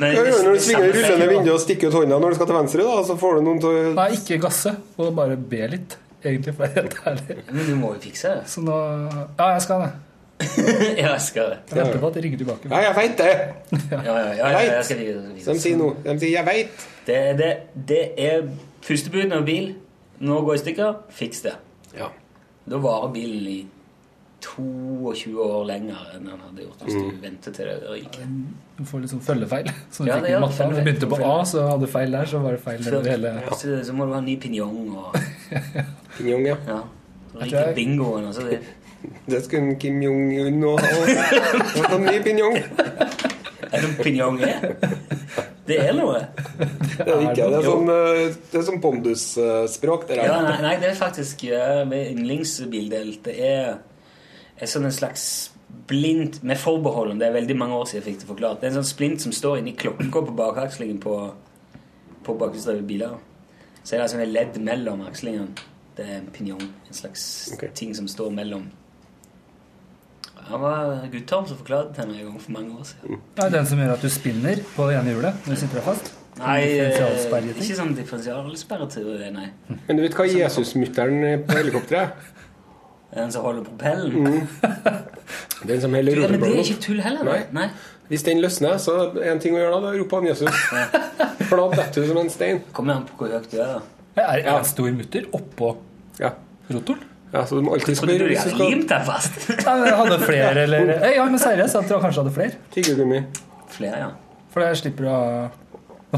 C: Nei,
D: Ja,
C: det-
D: ja, når du
C: det
D: svinger
C: samme-
D: rullende vinduet og stikker ut hånda når du skal til venstre, da, så får du noen til å
H: Nei, ikke gasse, og bare be litt, egentlig, for å være helt ærlig.
C: Men du må jo fikse det.
H: Så nå Ja, jeg skal det.
C: Ja, jeg skal det.
H: Jeg venter på at det ringer tilbake.
D: Ja, jeg veit det!
C: Ja, ja, ja, ja, jeg skal fikse
D: De
C: det.
D: sier nå. De sier 'jeg veit'.
C: Det er, det, det er første bud når bil nå går i stykker. Fiks det.
D: Ja.
C: Da varer bilen i 22 år lenger enn den hadde gjort hvis
D: Mm.
C: du venter til det ryker.
H: Du får litt sånn følgefeil. Så du
C: Ja,
H: fikk
C: det gjør
H: matta. Når du begynte på A, så hadde du feil der, så var det feil
C: Så,
H: over hele
C: så, så må du ha ny pinjong og
D: Kim Jong, ja.
C: Ja.
H: tror
C: Ryker
H: jeg-
C: bingoen, og så det-
D: Det skulle en Kim Jong-un òg ha. Ny pinjong.
C: Er det en pinjong er? Det er noe.
D: Det er ikke det. er sånn, eh, Det er sånn pondusspråk, det
C: Ja,
D: der.
C: nei, nei, det er faktisk ja, med yndlingsbildel. Det er, er sånn en slags blint Med forbehold om det er veldig mange år siden jeg fikk det forklart. Det er en sånn splint som står inni klokka på bakakslingen på, på bakhjulsdrevne biler. Så er det altså en ledd mellom akslingene. Det er en pinjong. En slags
D: Ok.
C: ting som står mellom. Han var Guttorm som forklarte det til meg en gang for mange år siden.
D: Mm.
H: Ja, den som gjør at du spinner på det ene hjulet når du sitter der fast?
C: Nei, eh,
H: Differensialsperreting.
C: ikke sånn differensialsperretur, nei.
D: Men du vet hva Jesusmutter'n på helikopteret er?
C: Den som Eh, holder propellen.
D: Den som heller
C: Ja, men det er
D: roterbladet
C: ikke
D: opp.
C: tull heller.
D: Nei.
C: Nei.
D: Hvis den løsner, så er det en ting å gjøre da, det er å rope han Jesus. For da detter du som en stein.
C: Kommer an på hvor høyt du er, da.
H: Er er det en stor mutter oppå
D: Ja.
H: rotoren?
D: ja så du må alltid
C: Trodde du
D: spørre
C: de
D: hvis du
C: hadde
D: skal
C: limt deg fast?
H: Nei, men jeg hadde flere, eller Eh, Ja, men seriøst, jeg tror jeg kanskje hadde flere.
D: Tyggegummi.
C: Flere, ja.
H: For jeg slipper å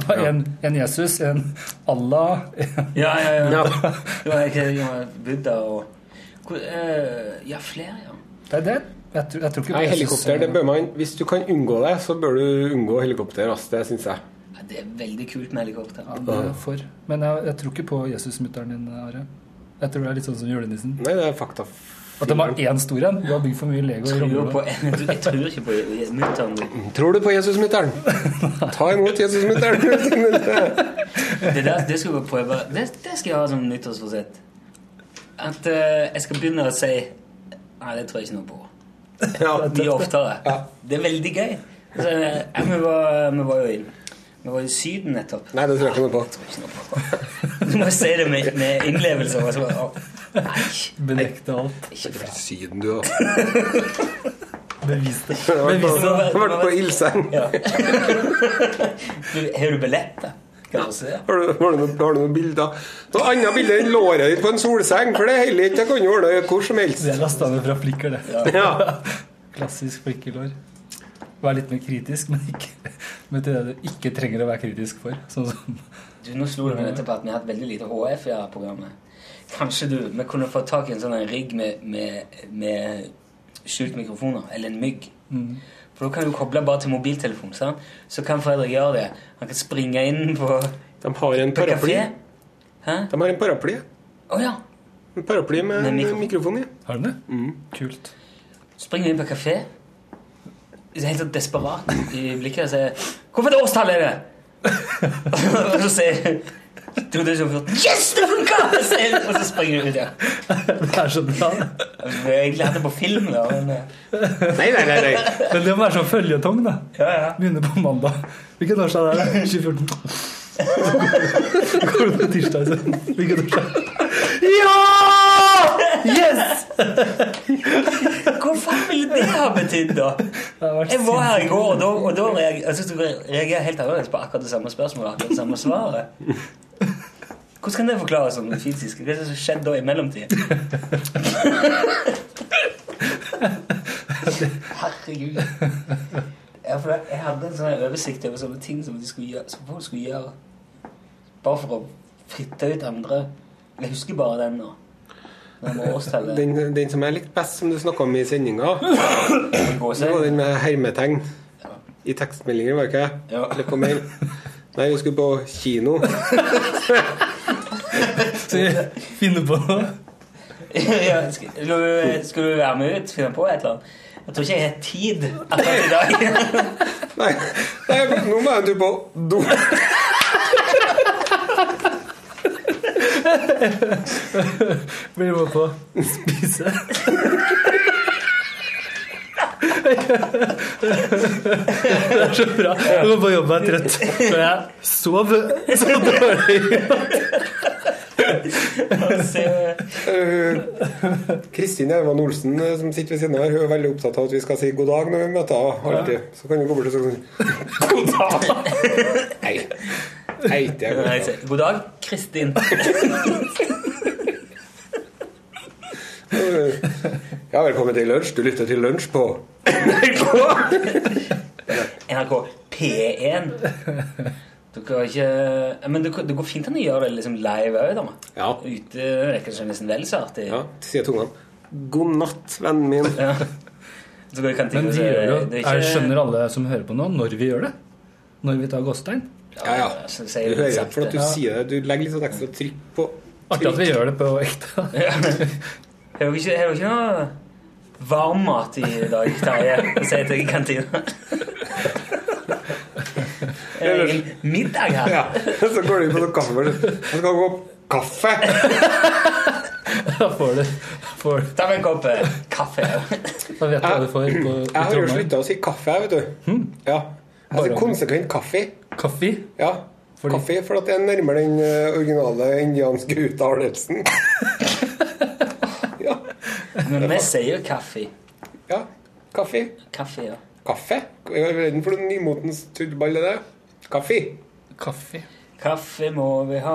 H: ha en, en Jesus, en Allah en-
C: Ja, ja, ja. Det var ikke det var Buddha og hvor, eh, Ja, flere, ja.
H: Det er det. Jeg tror, jeg tror ikke på
D: Nei,
H: Jesus.
D: helikopter, det bør man Hvis du kan unngå det, så bør du unngå helikopter. ass, det syns jeg.
C: Nei, Det er veldig kult med helikopter.
H: Ja, det er jeg for. Men jeg, jeg tror ikke på Jesusmutter'n din, Are. Jeg tror det er litt sånn som julenissen.
D: Nei, det er fakta.
H: At de har én stor en. Du har bygd for mye Lego i
C: Jeg tror,
H: rommet.
C: på, jeg tror ikke på mutter'n.
D: Tror du på Jesusmutter'n? Ta imot Jesusmutter'n!
C: Det, der, det skal jeg prøve. Det, det skal jeg ha som nyttårsforsett. At eh, jeg skal begynne å si Nei, det tror jeg ikke noe på. Mye oftere. Det er veldig gøy. Så, eh, vi, var, vi var jo i Vi var i Syden nettopp.
D: Nei, det tror jeg ikke noe på.
C: Jeg tror ikke noe på. Du må si det med, med innlevelse. og så bare, «Å, Nei,
H: Benekte alt.
C: ikke bra.
D: Syden, du òg.
H: Bevis det.
D: Vært på ildseng.
C: Ja. Du, har du billettet? Kan du se?
D: Har du, har, du noen, har du noen bilder? Noe annet bilde enn låret ditt på en solseng, for det er heller ikke Det kan du ordne hvor som helst.
H: Det er lasta ned fra flikker, det.
D: Ja.
H: Klassisk flikkelår. Vær litt mer kritisk, men ikke med til det du ikke trenger å være kritisk for. Sånn som
C: Du, nå slo det meg nettopp at vi har hatt veldig lite HF i det her programmet. Kanskje du, vi kunne fått tak i en sånn her rigg med, med, med skjult mikrofoner, eller en mygg. For da kan du koble bare til mobiltelefon, sant? Så kan Fredrik gjøre det. Han kan springe inn på,
D: De har en
C: på
D: paraply.
C: kafé. Hæ?
D: De har en paraply.
C: Å ja.
D: En paraply med,
C: Med
D: en
C: mikrofon.
D: mikrofon i.
H: Har du det?
C: Mm.
H: Kult.
C: Springer inn på kafé. Jeg er helt sånn desperat i blikket og sier 'Hvorfor et årstall er det?' og så sier 2014. 'Yes, det funka!' sier jeg, Og så springer du ut, ja.
H: Det er så bra. det.
C: Jeg skulle egentlig hatt det på film. da, men, eh,
D: Nei, nei, nei. nei.
H: Men det må være sånn føljetong, da.
C: ja, ja.
H: Begynner på mandag. Hvilken årsdag er det? 2014. Går det på tirsdag? altså. Så. Hvilken årsdag? Ja! Yes!
C: Hva faen ville det ha betydd, da?
H: Det har vært
C: Jeg var her i går, og da, og da reag- jeg synes du reagerer helt annerledes på akkurat det samme spørsmålet. akkurat det samme svaret. Hvordan kan det forklares som fysisk? Hva er det som skjedde da i mellomtiden? Herregud. Ja, for jeg hadde en sånn her oversikt over sånne ting som, de skulle gjøre, som folk skulle gjøre. Bare for å fritte ut andre. Jeg husker bare den nå. Den med årstallet.
D: Den, den som jeg likte best, som du snakka om i sendinga,
C: Den
D: det var
C: gåseøyne.
D: den med hermetegn i tekstmeldinger, var det ikke?
C: Ja.
D: Eller på mail. Nei, vi skulle på kino.
H: Så jeg finner på noe.
C: ja, skal, du- skal du være med ut? Finne på et eller annet? Jeg tror ikke jeg har tid akkurat i dag.
D: Nei, nei nå må jeg en tur på do.
H: Blir med på å spise. Det er så bra. Du går på jobb og er trøtt. Så jeg sov så dårlig.
C: Så-
D: Eh, Kristin Elvan Olsen eh, som sitter ved siden av her, hun er veldig opptatt av at vi skal si god dag når vi møter henne. Alltid. Så kan du gå bort og si sånn, God dag! Nei. Nei, det er
C: Nei,
D: godt.
C: så- God dag, Kristin.
D: Ja, velkommen til lunsj. Du lytter til lunsj på NRK.
C: NRK P1. Du kan ikke Men det, går- det går fint an å gjøre det liksom live òg, da.
D: Ja.
C: Ute det er kanskje nesten vel så artig.
D: Ja, sier tungene. God natt, vennen min.
C: Ja. Så går det i kantina,
H: Men de
C: så
H: gjør jo
C: det er
H: Jeg skjønner alle som hører på nå, når vi gjør det. Når vi tar Gåstein.
D: Ja, ja.
C: så
D: Du
C: sier det
D: hører
C: sakte.
D: for at du sier det. Du legger litt sånn ekstra trykk på
H: Artig at vi gjør det på ekte.
C: Har dere ikke, har dere ikke noe varmmat i dag, Terje? Sier jeg til kantina. Er det ingen middag her?
D: Ja, Så går du inn på noen kaffe. bare, Jeg skal gå opp kaffe.
H: Da får du, får,
C: Ta meg en kopp eh, kaffe.
H: da vet du hva du får på, i
D: Jeg har jo
H: Trondheim.
D: slutta å si kaffe, jeg, vet du.
H: Hmm.
D: Ja. Jeg sier konsekvent kaffe.
H: Kaffe.
D: Ja.
H: Fordi-
D: Kaffe, for at det er nærmere den eh, originale indianske uttalelsen. ja.
C: Men vi sier jo kaffe.
D: ja. Kaffe.
C: Kaffe, ja.
D: Kaffe? Jeg er redd for den nymotens tullball, det der. Kaffe.
H: Kaffe.
C: Kaffe må vi ha,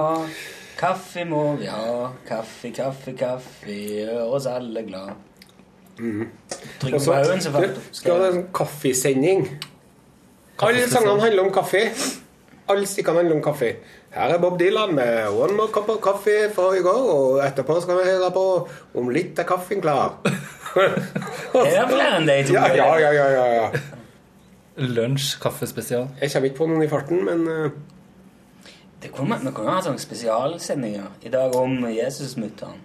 C: kaffe må vi ha. Kaffe, kaffe, kaffe gjør oss alle glad. Trygve
D: Mhm. Og så-
C: Baugen som fant
D: Du, Skal ha en sånn kaffesending. Alle sangene handler om kaffe. Alle stikkene handler om kaffe. Her er Bob Dylan med 'One More Cup of Coffee' fra i går, og etterpå skal vi høre på 'Om litt er kaffen klar'.
C: Det er flere enn de to.
D: Ja, ja, ja, ja, ja, ja.
H: Lunsj kaffespesial.
D: Jeg kommer ikke på noen i farten, men eh,
C: Det kunne, vi kunne ha sånne spesialsendinger i dag om Jesusmutteren.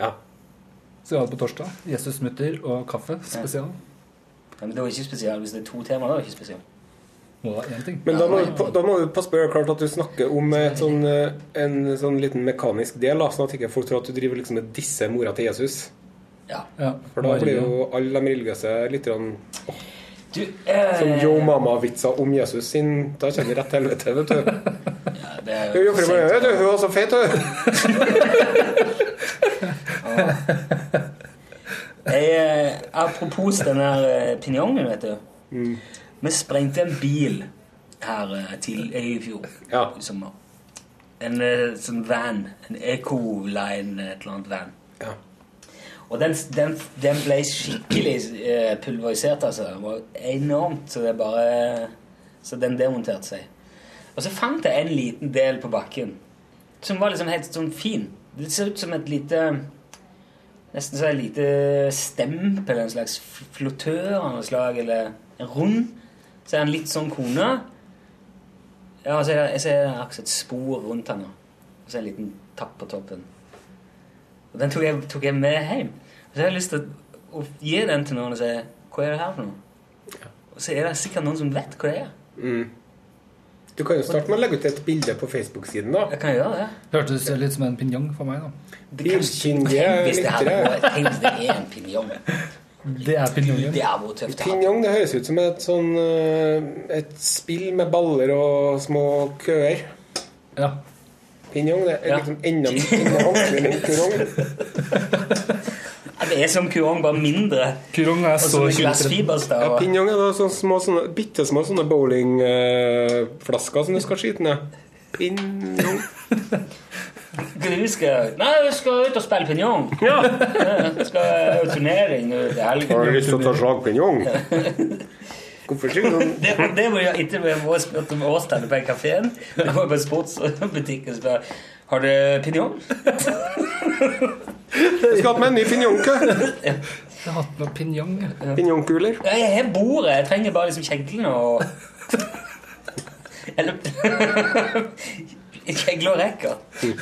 D: ja.
H: Så vi har det på torsdag. Jesus mutter og kaffe spesial.
C: Ja, men det var ikke spesial hvis det er to temaer. Det var ikke spesial.
H: Må da én ting.
D: Men da må, du på- da må du passe på klart at du snakker om et sånn, eh, en sånn liten mekanisk del, da, sånn at ikke folk tror at du driver liksom og disser mora til Jesus.
C: Ja.
H: Ja.
D: For da blir jo alle de religiøse litt sånn,
C: Du, eh,
D: som Yo Mama-vitser om Jesus sin. Da kommer det rett til helvete, vet du.
C: ja, det er
D: Jo, jo, for det var- ja, du, Hun var så feit, hun!
C: Jeg, eh, apropos den her eh, pinjongen, vet du.
D: Mm.
C: Vi sprengte en bil her eh, til, eh, i fjor
D: Ja.
C: i sommer. En eh, sånn van. En Ecoline, eh, et eller annet van.
D: Ja.
C: Og den, den, den ble skikkelig eh, pulverisert, altså. Den var enormt, så det bare Så den demonterte seg. Og så fant jeg en liten del på bakken som var liksom helt sånn fin. Det ser ut som et lite Nesten som et lite stempel, en slags flottør av noe slag, eller en rund. Så er han litt sånn kone. Ja, og så er det, jeg ser akkurat et spor rundt han, ja. og så er det en liten tapp på toppen. Og den tok jeg, tok jeg med hjem. Og så har jeg lyst til å, å gi den til noen og si Hva er det her for noe? Og så er det sikkert noen som vet hva det er.
D: Du kan jo starte med å legge ut et bilde på Facebook-siden, da.
C: Jeg kan gjøre det.
H: Hørtes litt som en pinjong for meg, da.
C: det kanskje-
D: Bilkyndige
C: Tenk hvis det hadde
D: lyttere.
C: vært- Tenk hvis det er en pinjong.
H: Det er pinjongen.
C: Det hadde vært tøft. å ha.
D: Pinjong det høres ut som et sånn eh, Et spill med baller og små køer.
H: Ja.
D: Pinjong det er
C: Ja.
D: liksom enda enda vanskeligere enn kurong.
C: Det er som kurong, bare mindre.
H: Kurong er
C: Og
H: så
C: så med
H: kiltrett.
D: Ja,
C: glassfiberstaver.
D: pinjong er da sånne små, sånne, bitte små sånne bowlingflasker som du skal skyte ned. Pinjong
C: Du skal Nei, jeg skal ut og spille pinjong. Ja. Jeg skal ha turnering nå til helgen.
D: lyst til å ta slagpinjong? Hvorfor sier du sånn?
C: Det, det var jo etter vi var spurt om årstallet på kafeen. Det var på en sportsbutikk og spør Har du pinjong?
D: Jeg skal ha meg en ny pinjongkø.
H: Jeg har hatt noe pinjong. jeg.
D: Pinjongkuler.
C: Ja, jeg har bordet. Jeg trenger bare liksom kjeglene og Eller Kjegler og rekker.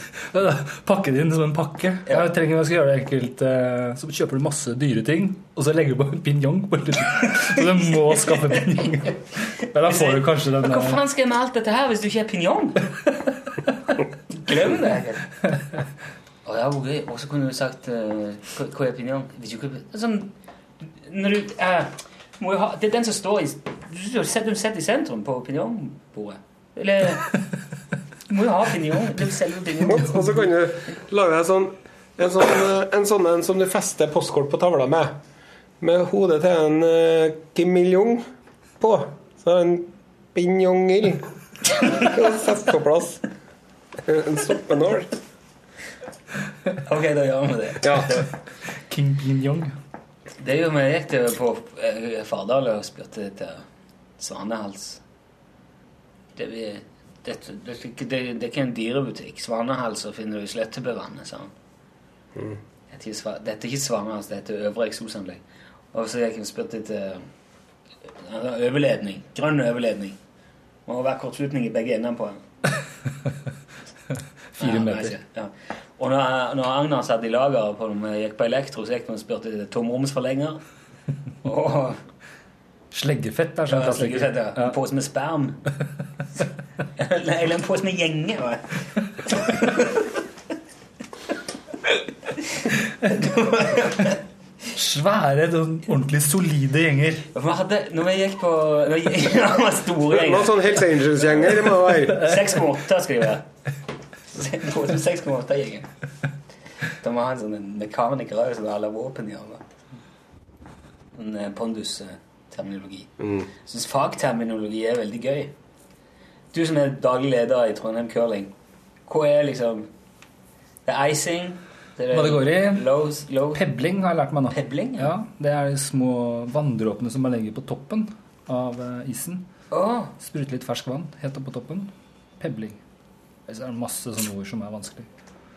H: Pakke det inn som en pakke.
C: Ja.
H: Jeg trenger jeg skal gjøre det enkelt eh, Så kjøper du masse dyre ting, og så legger du bare en pinjong på lille. Så du må skaffe pinjong. Men da får du kanskje den eh,
C: Men Hva
H: der
C: faen skal jeg med alt dette her hvis du ikke er pinjong? Glem det. Å, det var gøy. Og så kunne du sagt eh, hva- Hva er pinjong? Vet ikke hva det er. Sånn Når du eh, må jo ha, Det er den som står i Du setter den i sentrum på pinjongbordet. Eller Du må jo ha pinjong. Det er jo selve
D: Og
C: pinjong.
D: og så kan du lage en sånn en sånn eh, en, sånn en som du fester postkort på tavla med. Med hodet til en eh, Kim Il-jong på. Så en pinjong-il. Sett på plass. En en stoppenål.
C: Ok, da gjør vi det.
D: Ja.
H: eh, King Pinjong.
C: Det gjorde vi Jeg gikk til på eh, Fardal og spurte etter Svanehals. Det, vi, det, det, det, det, det er ikke en dyrebutikk. Svanehals så finner du i Slettebøvannet, sa han.
H: Mm.
C: Dette er ikke sva- Dette er ikke Svanehals, det heter Øvre Eksosanlegg. Og så gikk jeg og spurte etter eh, overledning. Grønn overledning. Må være kortslutning i begge ender på den.
H: Fire
C: Ja,
H: meter.
C: nei, Ja. Og når, når Agnar satt i lager på når vi gikk på elektro, så gikk vi og spurte etter tomromsforlenger. Og
H: Sleggefett er
C: Ja,
H: sånn
C: jeg skulle sett det.
H: Ja.
C: En pose med sperm. Eller eller en pose med gjenge. var det.
H: Svære, sånn ordentlig solide gjenger.
C: Og Vi hadde, når vi gikk på når vi, ja, det var store
D: Noen
C: gjenger
D: sånn Hells Angels-gjenger må det være.
C: 6,8 skal de være. En pose med 6,8-gjengen. Da må ha en sånn en mekaniker òg som har alle våpen i armen. En eh, pondus-terminologi. Jeg syns fagterminologi er veldig gøy. Du som er daglig leder i Trondheim Curling, hva er liksom Det er icing det er
H: Hva det går i?
C: Low, low
H: Pebling har jeg lært meg nå.
C: Pebling, ja.
H: Ja, Det er de små vanndråpene som man legger på toppen av eh, isen.
C: Åh,
H: Sprute litt fersk vann helt opp på toppen. Pebling. Ellers er det masse sånne ord som er vanskelig.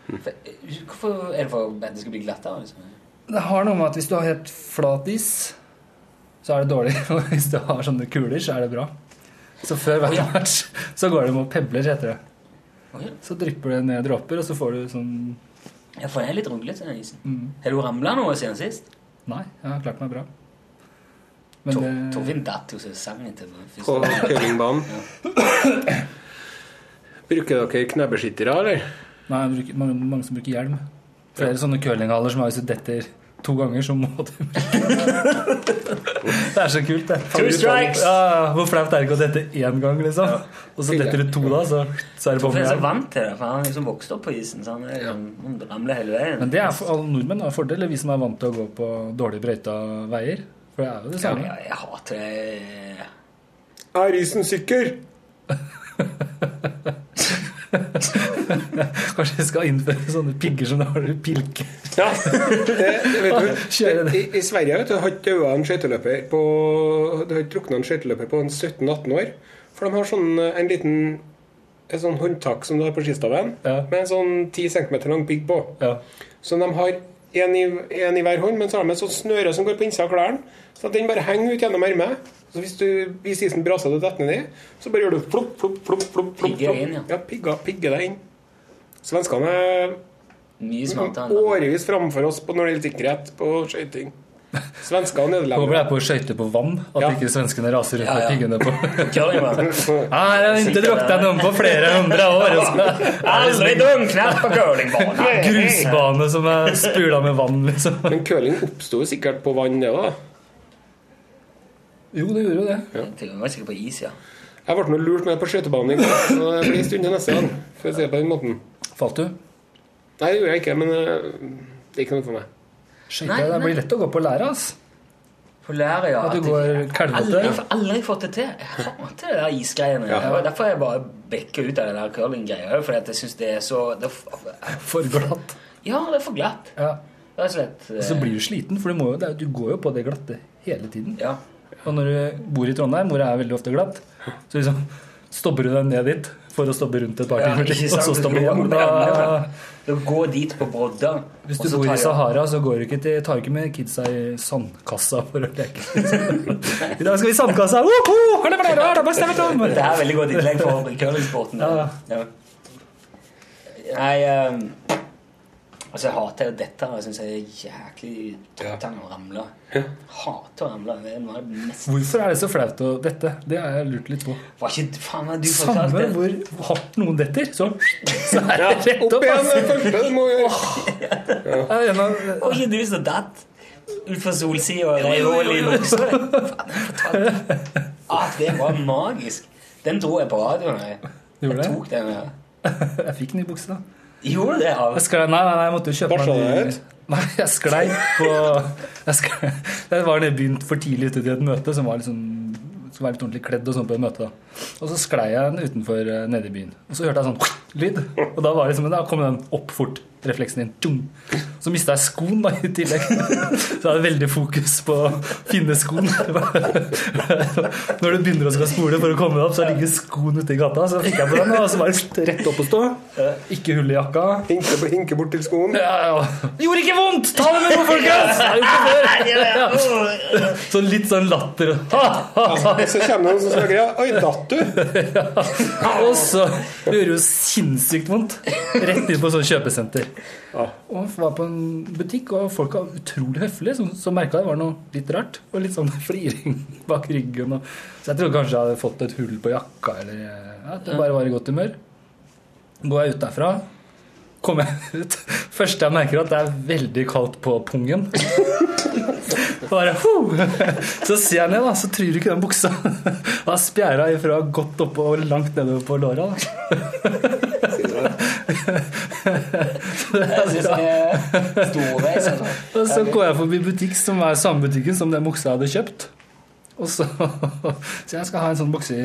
C: for- eh, Hvorfor er det for at det skal bli glattere? Liksom?
H: Det har noe med at hvis du har helt flat is, så er det dårlig. Og hvis du har sånne kuler, så er det bra. Så før hver match så går de og pebler, heter det.
C: Å ja.
H: Så drypper det ned dråper, og så får du sånn
C: Ja, for den er litt runglete, den isen.
H: Mm.
C: Har du ramla noe siden sist?
H: Nei, jeg har klart meg bra.
C: Tor-
H: Men eh, det,
C: Torfinn datt jo så sang til den
D: på
C: første.
D: curlingbanen. Bruker dere knebbeskyttere, eller?
H: nei, jeg bruker- mange, mange som bruker hjelm. Flere sånne curlinghaller som har hvis du detter to ganger, så må du Det er så kult, det.
C: Two strikes!
H: Ja, hvor flaut er det ikke å dette én gang, liksom? Og så detter du to, da, så, så er det på
C: Torfinn er så
H: hjelm.
C: vant til det, for han har liksom vokst opp på isen. Så han er, liksom- han ramler hele veien.
H: Men det er for alle nordmenn har fordel, eller vi som er vant til å gå på dårlig brøyta veier. For det er jo det
C: ja,
H: samme.
C: jeg, jeg hater det.
D: Er isen sikker?
H: Kanskje vi skal innføre sånne pigger som det har pilke.
D: Ja. Det, det vet du.
H: Kjører det.
D: I, I Sverige vet du, har ikke daua en skøyteløper på Det har ikke drukna en skøyteløper på en 17-18 år. For de har sånn eh, en liten et sånn håndtak som du har på skistaven,
H: Ja.
D: med en sånn 10 cm lang pigg på.
H: Ja.
D: Så de har en i, en i hver hånd, men så har de et sånt snøre som går på innsida av klærne. Så at den bare henger ut gjennom ermet. Så hvis, du, hvis isen braser og du detter nedi, så bare gjør du plopp, plopp, plopp. plopp, plopp
C: Pigger inn, ja.
D: ja pigga, pigger deg inn. Svenskene er
C: Mye smartere enn han.
D: årevis framfor oss på når det gjelder sikkerhet på skøyting. Svensker og
H: Håper det
D: nederlendere.
H: er på skøyter på vann, at
D: Ja.
H: ikke svenskene raser rundt
C: Ja,
H: med
C: ja.
H: piggene på.
C: Curlingbanen.
H: Her har vi ikke drukket noen på flere hundre år. og så er det
C: Aldri dunknert på curlingbanen!
H: en Grusbane som er spula med vann, liksom.
D: Men curling oppsto jo sikkert på vann, det òg.
H: Jo, det gjorde jo det.
C: Til og med sikkert på is, ja.
D: Jeg ble nå lurt med på skøytebanen i går, så det blir en stund til neste gang. For å si det på den måten.
H: Falt du?
D: Nei, det gjorde jeg ikke, men eh, det er ikke noe for meg.
H: Skøyter, det blir lett å gå på og lære, ass.
C: Polær, ja.
H: At du
C: at
H: går
C: jeg-
H: kalvete.
C: Aldri, jeg har aldri fått det til. Jeg hater det der isgreiene. Ja. Derfor har jeg bare bekka ut av det der curlinggreia. Fordi at jeg syns det er så det er f-
H: For glatt.
C: Ja, det er for glatt.
H: Ja.
C: Rett og slett. eh,
H: Og så blir du sliten, for du, må jo, det er, jo- du går jo på det glatte hele tiden.
C: Ja.
H: Og når du bor i Trondheim, hvor det er veldig ofte glatt, så liksom stopper du deg ned dit for å stoppe rundt et par
C: Ja,
H: timer
C: ikke
H: til, og
C: sant?
H: så
C: Du
H: stopper du
C: går
H: igjen.
C: på andre,
H: Da,
C: men- Du går dit på brodda.
H: hvis
C: og
H: du
C: så
H: bor
C: tar
H: i
C: jeg-
H: Sahara, så går du ikke til, tar du ikke med kidsa i sandkassa for å leke. I dag skal vi i sandkassa! Woho! Har det vært der? Har det vært stemt om?
C: Det er veldig godt innlegg for curlingsporten.
H: Ja.
C: Ja. Nei ehm, Altså, jeg hater jo dette. Jeg syns jeg er jæklig trøttende å ramle. Hater å ramle. Det er noe av det mest
H: Hvorfor er det så flaut å dette? Det har jeg lurt litt på.
C: Var ikke faen meg du
H: Samme
C: fortalte det?
H: hvor hardt noen detter, så, så er altså. det rett opp.
D: Opp igjen,
H: ass.
D: det første du må gjøre.
H: Det er en av-
C: Var ikke du som datt utfor solsida og reiv hull i buksa? Faen, jeg fortalte. Ah, det var magisk. Den dro jeg på radioen. Jeg,
H: Gjorde
C: jeg
H: det?
C: tok den. jeg.
H: Jeg fikk ny bukse, da.
C: Gjorde du det?
H: Jeg
C: Av.
H: sklei, nei, nei, nei, jeg måtte jo kjøpe
D: Barsa
H: meg
D: deg
H: ny- Nei, jeg sklei på Jeg, sklei, jeg var nede begynt for tidlig ute til et møte som var liksom skulle være litt ordentlig kledd og sånn på et møte. da. Og så sklei jeg den utenfor eh, nede i byen. Og så hørte jeg sånn lyd. Og da, var det liksom, da kom den opp fort, refleksen din. Tjung. Så mista jeg skoen da, i tillegg. Så jeg hadde veldig fokus på å finne skoen. Når du begynner å skal spole for å komme deg opp, så ligger skoen ute i gata. Så fikk jeg på den, og så var det rett opp å stå. Ikke hull i jakka.
D: Hinke, hinke bort til skoen.
H: Ja, ja. Gjorde ikke vondt! Ta det med ro, folkens! Jeg har gjort det før. Sånn litt sånn latter. Ha, ha, ha.
D: Og så kommer det noen som snakker ja, Oi, datt du?
H: Og så det gjorde jo sinnssykt vondt. Rett inn på sånn kjøpesenter. Og jeg var på en butikk, og folk var utrolig høflige. Så, så merka jeg det var noe litt rart. Og litt sånn fliring bak ryggen. Og, så jeg trodde kanskje jeg hadde fått et hull på jakka, eller ja, at jeg bare var i godt humør. Går jeg ut derfra, kommer jeg ut. Første jeg merker, at det er veldig kaldt på pungen. Bare, «Hu!» så ser jeg ned, da, så tryr ikke den buksa. Da har spjæra ifra godt oppå og langt nedover på låra. Da.
C: Jeg synes det er storveis. altså.
H: Og så går jeg forbi butikk som er samme butikken som den buksa jeg hadde kjøpt. Og så, så jeg skal ha en sånn bukse i.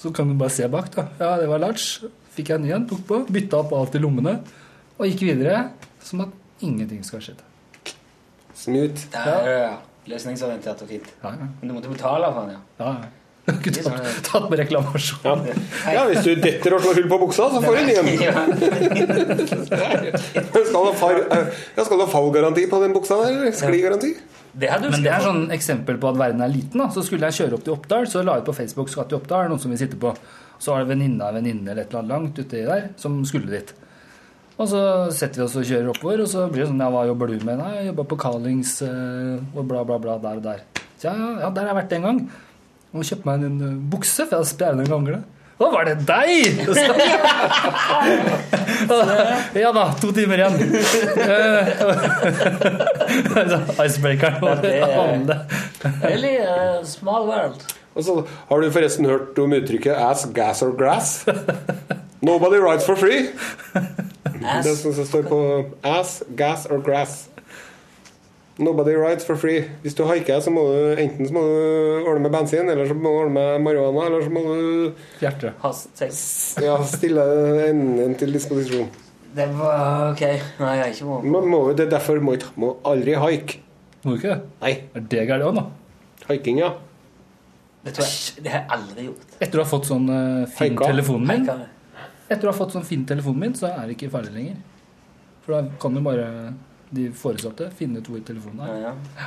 H: Så kan du bare se bak, da. Ja, det var large. Fikk jeg en ny en, tok på, bytta opp alt i lommene. Og gikk videre som at ingenting skal ha skjedd.
D: Smooth.
C: Ja, ja, ja. Løsningsorientert og fint.
H: Ja, ja.
C: Men du måtte betale for den, ja.
H: Ja, ja. Du har ikke tatt, tatt med reklamasjon.
D: Ja, hvis du detter og slår hull på buksa, så får du en ny en.
C: Ja.
D: Skal du ha far- eh, ja, skal du ha fallgaranti på den buksa der? eller Skligaranti?
C: Det hadde du
H: Men det er
C: skrevet.
H: sånn eksempel på at verden er liten. da Så skulle jeg kjøre opp til Oppdal, så la jeg ut på Facebook skatt i Oppdal, noen som vil sitte på. Så var det venninne av en venninne eller et eller annet langt uti der som skulle dit. Og så setter vi oss og kjører oppover, og så blir det sånn Ja, hva jobber du med? Nei, jeg jobber på Carlings eh, og bla, bla, bla, der og der. Så ja, ja, der har jeg vært en gang. Og kjøpte meg en eh, bukse, for jeg hadde spjæret en gangle. Å, var det deg?! Og så- ja da, to timer igjen. Eh, Icebreakeren var
C: det
H: det
C: er-
H: andre. sånn-
C: Really, uh, small world.
D: Og så har du forresten hørt om uttrykket 'ass gas or grass'? Nobody rides for free.
C: Ass.
D: Det er sånn som står på 'ass, gas or grass'. Nobody rides for free. Hvis du haiker, så må du enten så må du ordne med bensin, eller så må du ordne med marihuana, eller så må du
H: Hjerte.
C: Has- sex.
D: ja, stille enden din til disposisjon.
C: Det var ok. Nei, jeg er ikke på.
D: Man må, jo- det er derfor må ikke må aldri haike.
H: Må du ikke det?
D: Nei.
H: Er det gærent òg, nå?
D: Haiking, ja.
C: Det tror jeg det har jeg aldri gjort.
H: Etter du har fått sånn eh, fin
D: Haika.
H: telefonen min,
C: Kan jeg?
H: Etter du har fått sånn fin telefonen min, så er det ikke farlig lenger. For da kan jo bare de foresatte finne ut hvor telefonen
C: Ja,
H: er.
C: ja.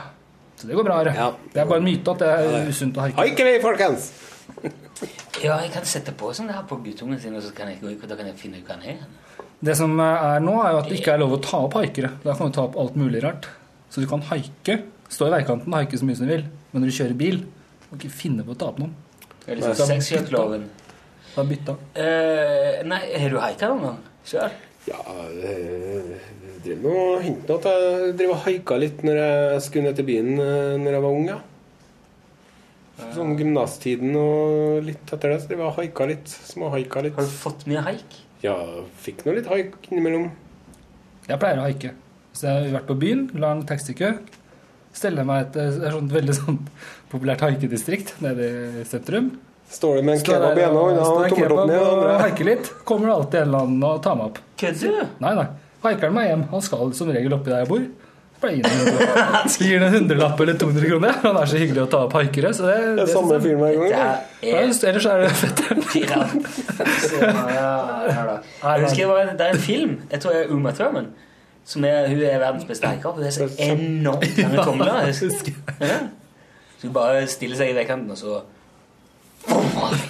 H: Så det går bra. Are.
D: Ja.
H: Det er bare en myte at det er usunt å haike.
D: Haik eller ei, folkens?
C: Ja, jeg kan sette på sånn det her på guttungen sin, og så kan jeg gå ut, og da kan jeg finne ut hva han er.
H: Det som er nå, er jo at det ikke er lov å ta opp haikere. Da kan du ta opp alt mulig rart. Så du kan haike, stå i veikanten og haike så mye som du vil, men når du kjører bil, må du ikke finne på å ta opp noen.
C: Det er liksom sexkjøttloven.
H: Da bytta.
C: Eh, nei, har du haika noen gang? Sjøl?
D: Ja, eh, jeg drev nå og hente noe at jeg drev og haika litt når jeg skulle ned til byen eh, når jeg var ung, ja. Sånn gymnastiden og litt etter det, så drev jeg og haika litt. Småhaika litt.
C: Har du fått mye haik?
D: Ja, fikk nå litt haik innimellom.
H: Jeg pleier å haike. Så jeg har vært på byen, lang taxikø. Steller meg et, det er sånn veldig sånn populært haikedistrikt nede i sentrum.
D: Står det med en
H: Står der
D: kebab i ene
H: og-
D: hånda
H: står
D: og
H: en
D: tommeltotten i
H: kebab
D: den
H: og
D: andre?
H: haiker litt. Kommer det alltid en eller annen og tar meg opp.
C: Kødder du?
H: Nei, nei. Haiker han meg hjem. Han skal som regel oppi der jeg bor. Så bare gir han- så gir han en hundrelapp eller 200 kroner. Han er så hyggelig å ta opp haikere. Så det,
D: Det er samme
H: synes jeg-
D: fyren hver gang.
C: Det
D: ja.
C: her
H: Ja,
C: er
H: ellers er det fetteren.
C: pirant. Så, ja, her da. Jeg husker jeg var, det er en film, jeg tror det er Uma Thurman, som er, hun er verdens beste hiker. Hun er så enormt lange tomler. jeg husker. Ja. Så hun bare stiller seg i veikanten, og så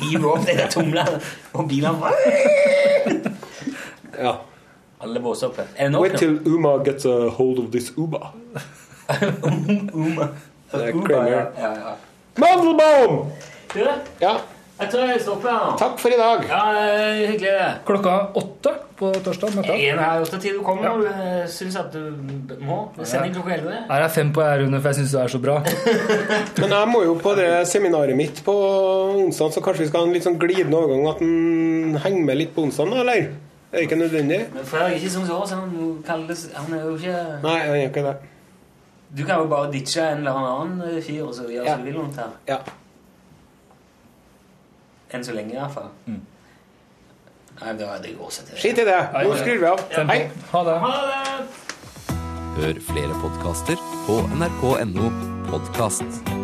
C: hiver opp de der tomlene, og bilene
D: ja.
C: Alle blåser opp.
D: Wait
C: Enormt.
D: till Uma gets a hold of this Uba.
C: Uma.
D: Det er
C: Uma,
D: Kramer.
C: ja, ja, ja.
D: Mandelbaum!
C: Du,
D: Ja,
C: jeg tror jeg stopper her nå.
D: takk for i dag.
C: Ja, eh, hyggelig det.
H: Klokka åtte på torsdag. møtte jeg.
C: En her åtte til du kommer, og du eh, syns at du må. Sending klokka elleve.
H: Her er fem på jeg, Rune, for jeg syns du er så bra.
D: Men jeg må jo på det seminaret mitt på onsdag, så kanskje vi skal ha en litt sånn glidende overgang? At den henger med litt på onsdag, eller? Det er ikke nødvendig?
C: Men Fredrik er ikke som så, så han, må kalles, han er jo ikke
D: Nei, han gjør ikke det.
C: Du kan jo bare ditche en eller annen eh, fyr og så gjøre
D: Ja.
C: som du vil rundt her.
D: Ja.
C: Enn så lenge, i hvert fall. Nei, det, det går seg til.
D: Skitt i det. Nå skrur vi av. Hei.
H: Ha det.
C: Ha det!
J: Hør flere podkaster på nrk.no podkast.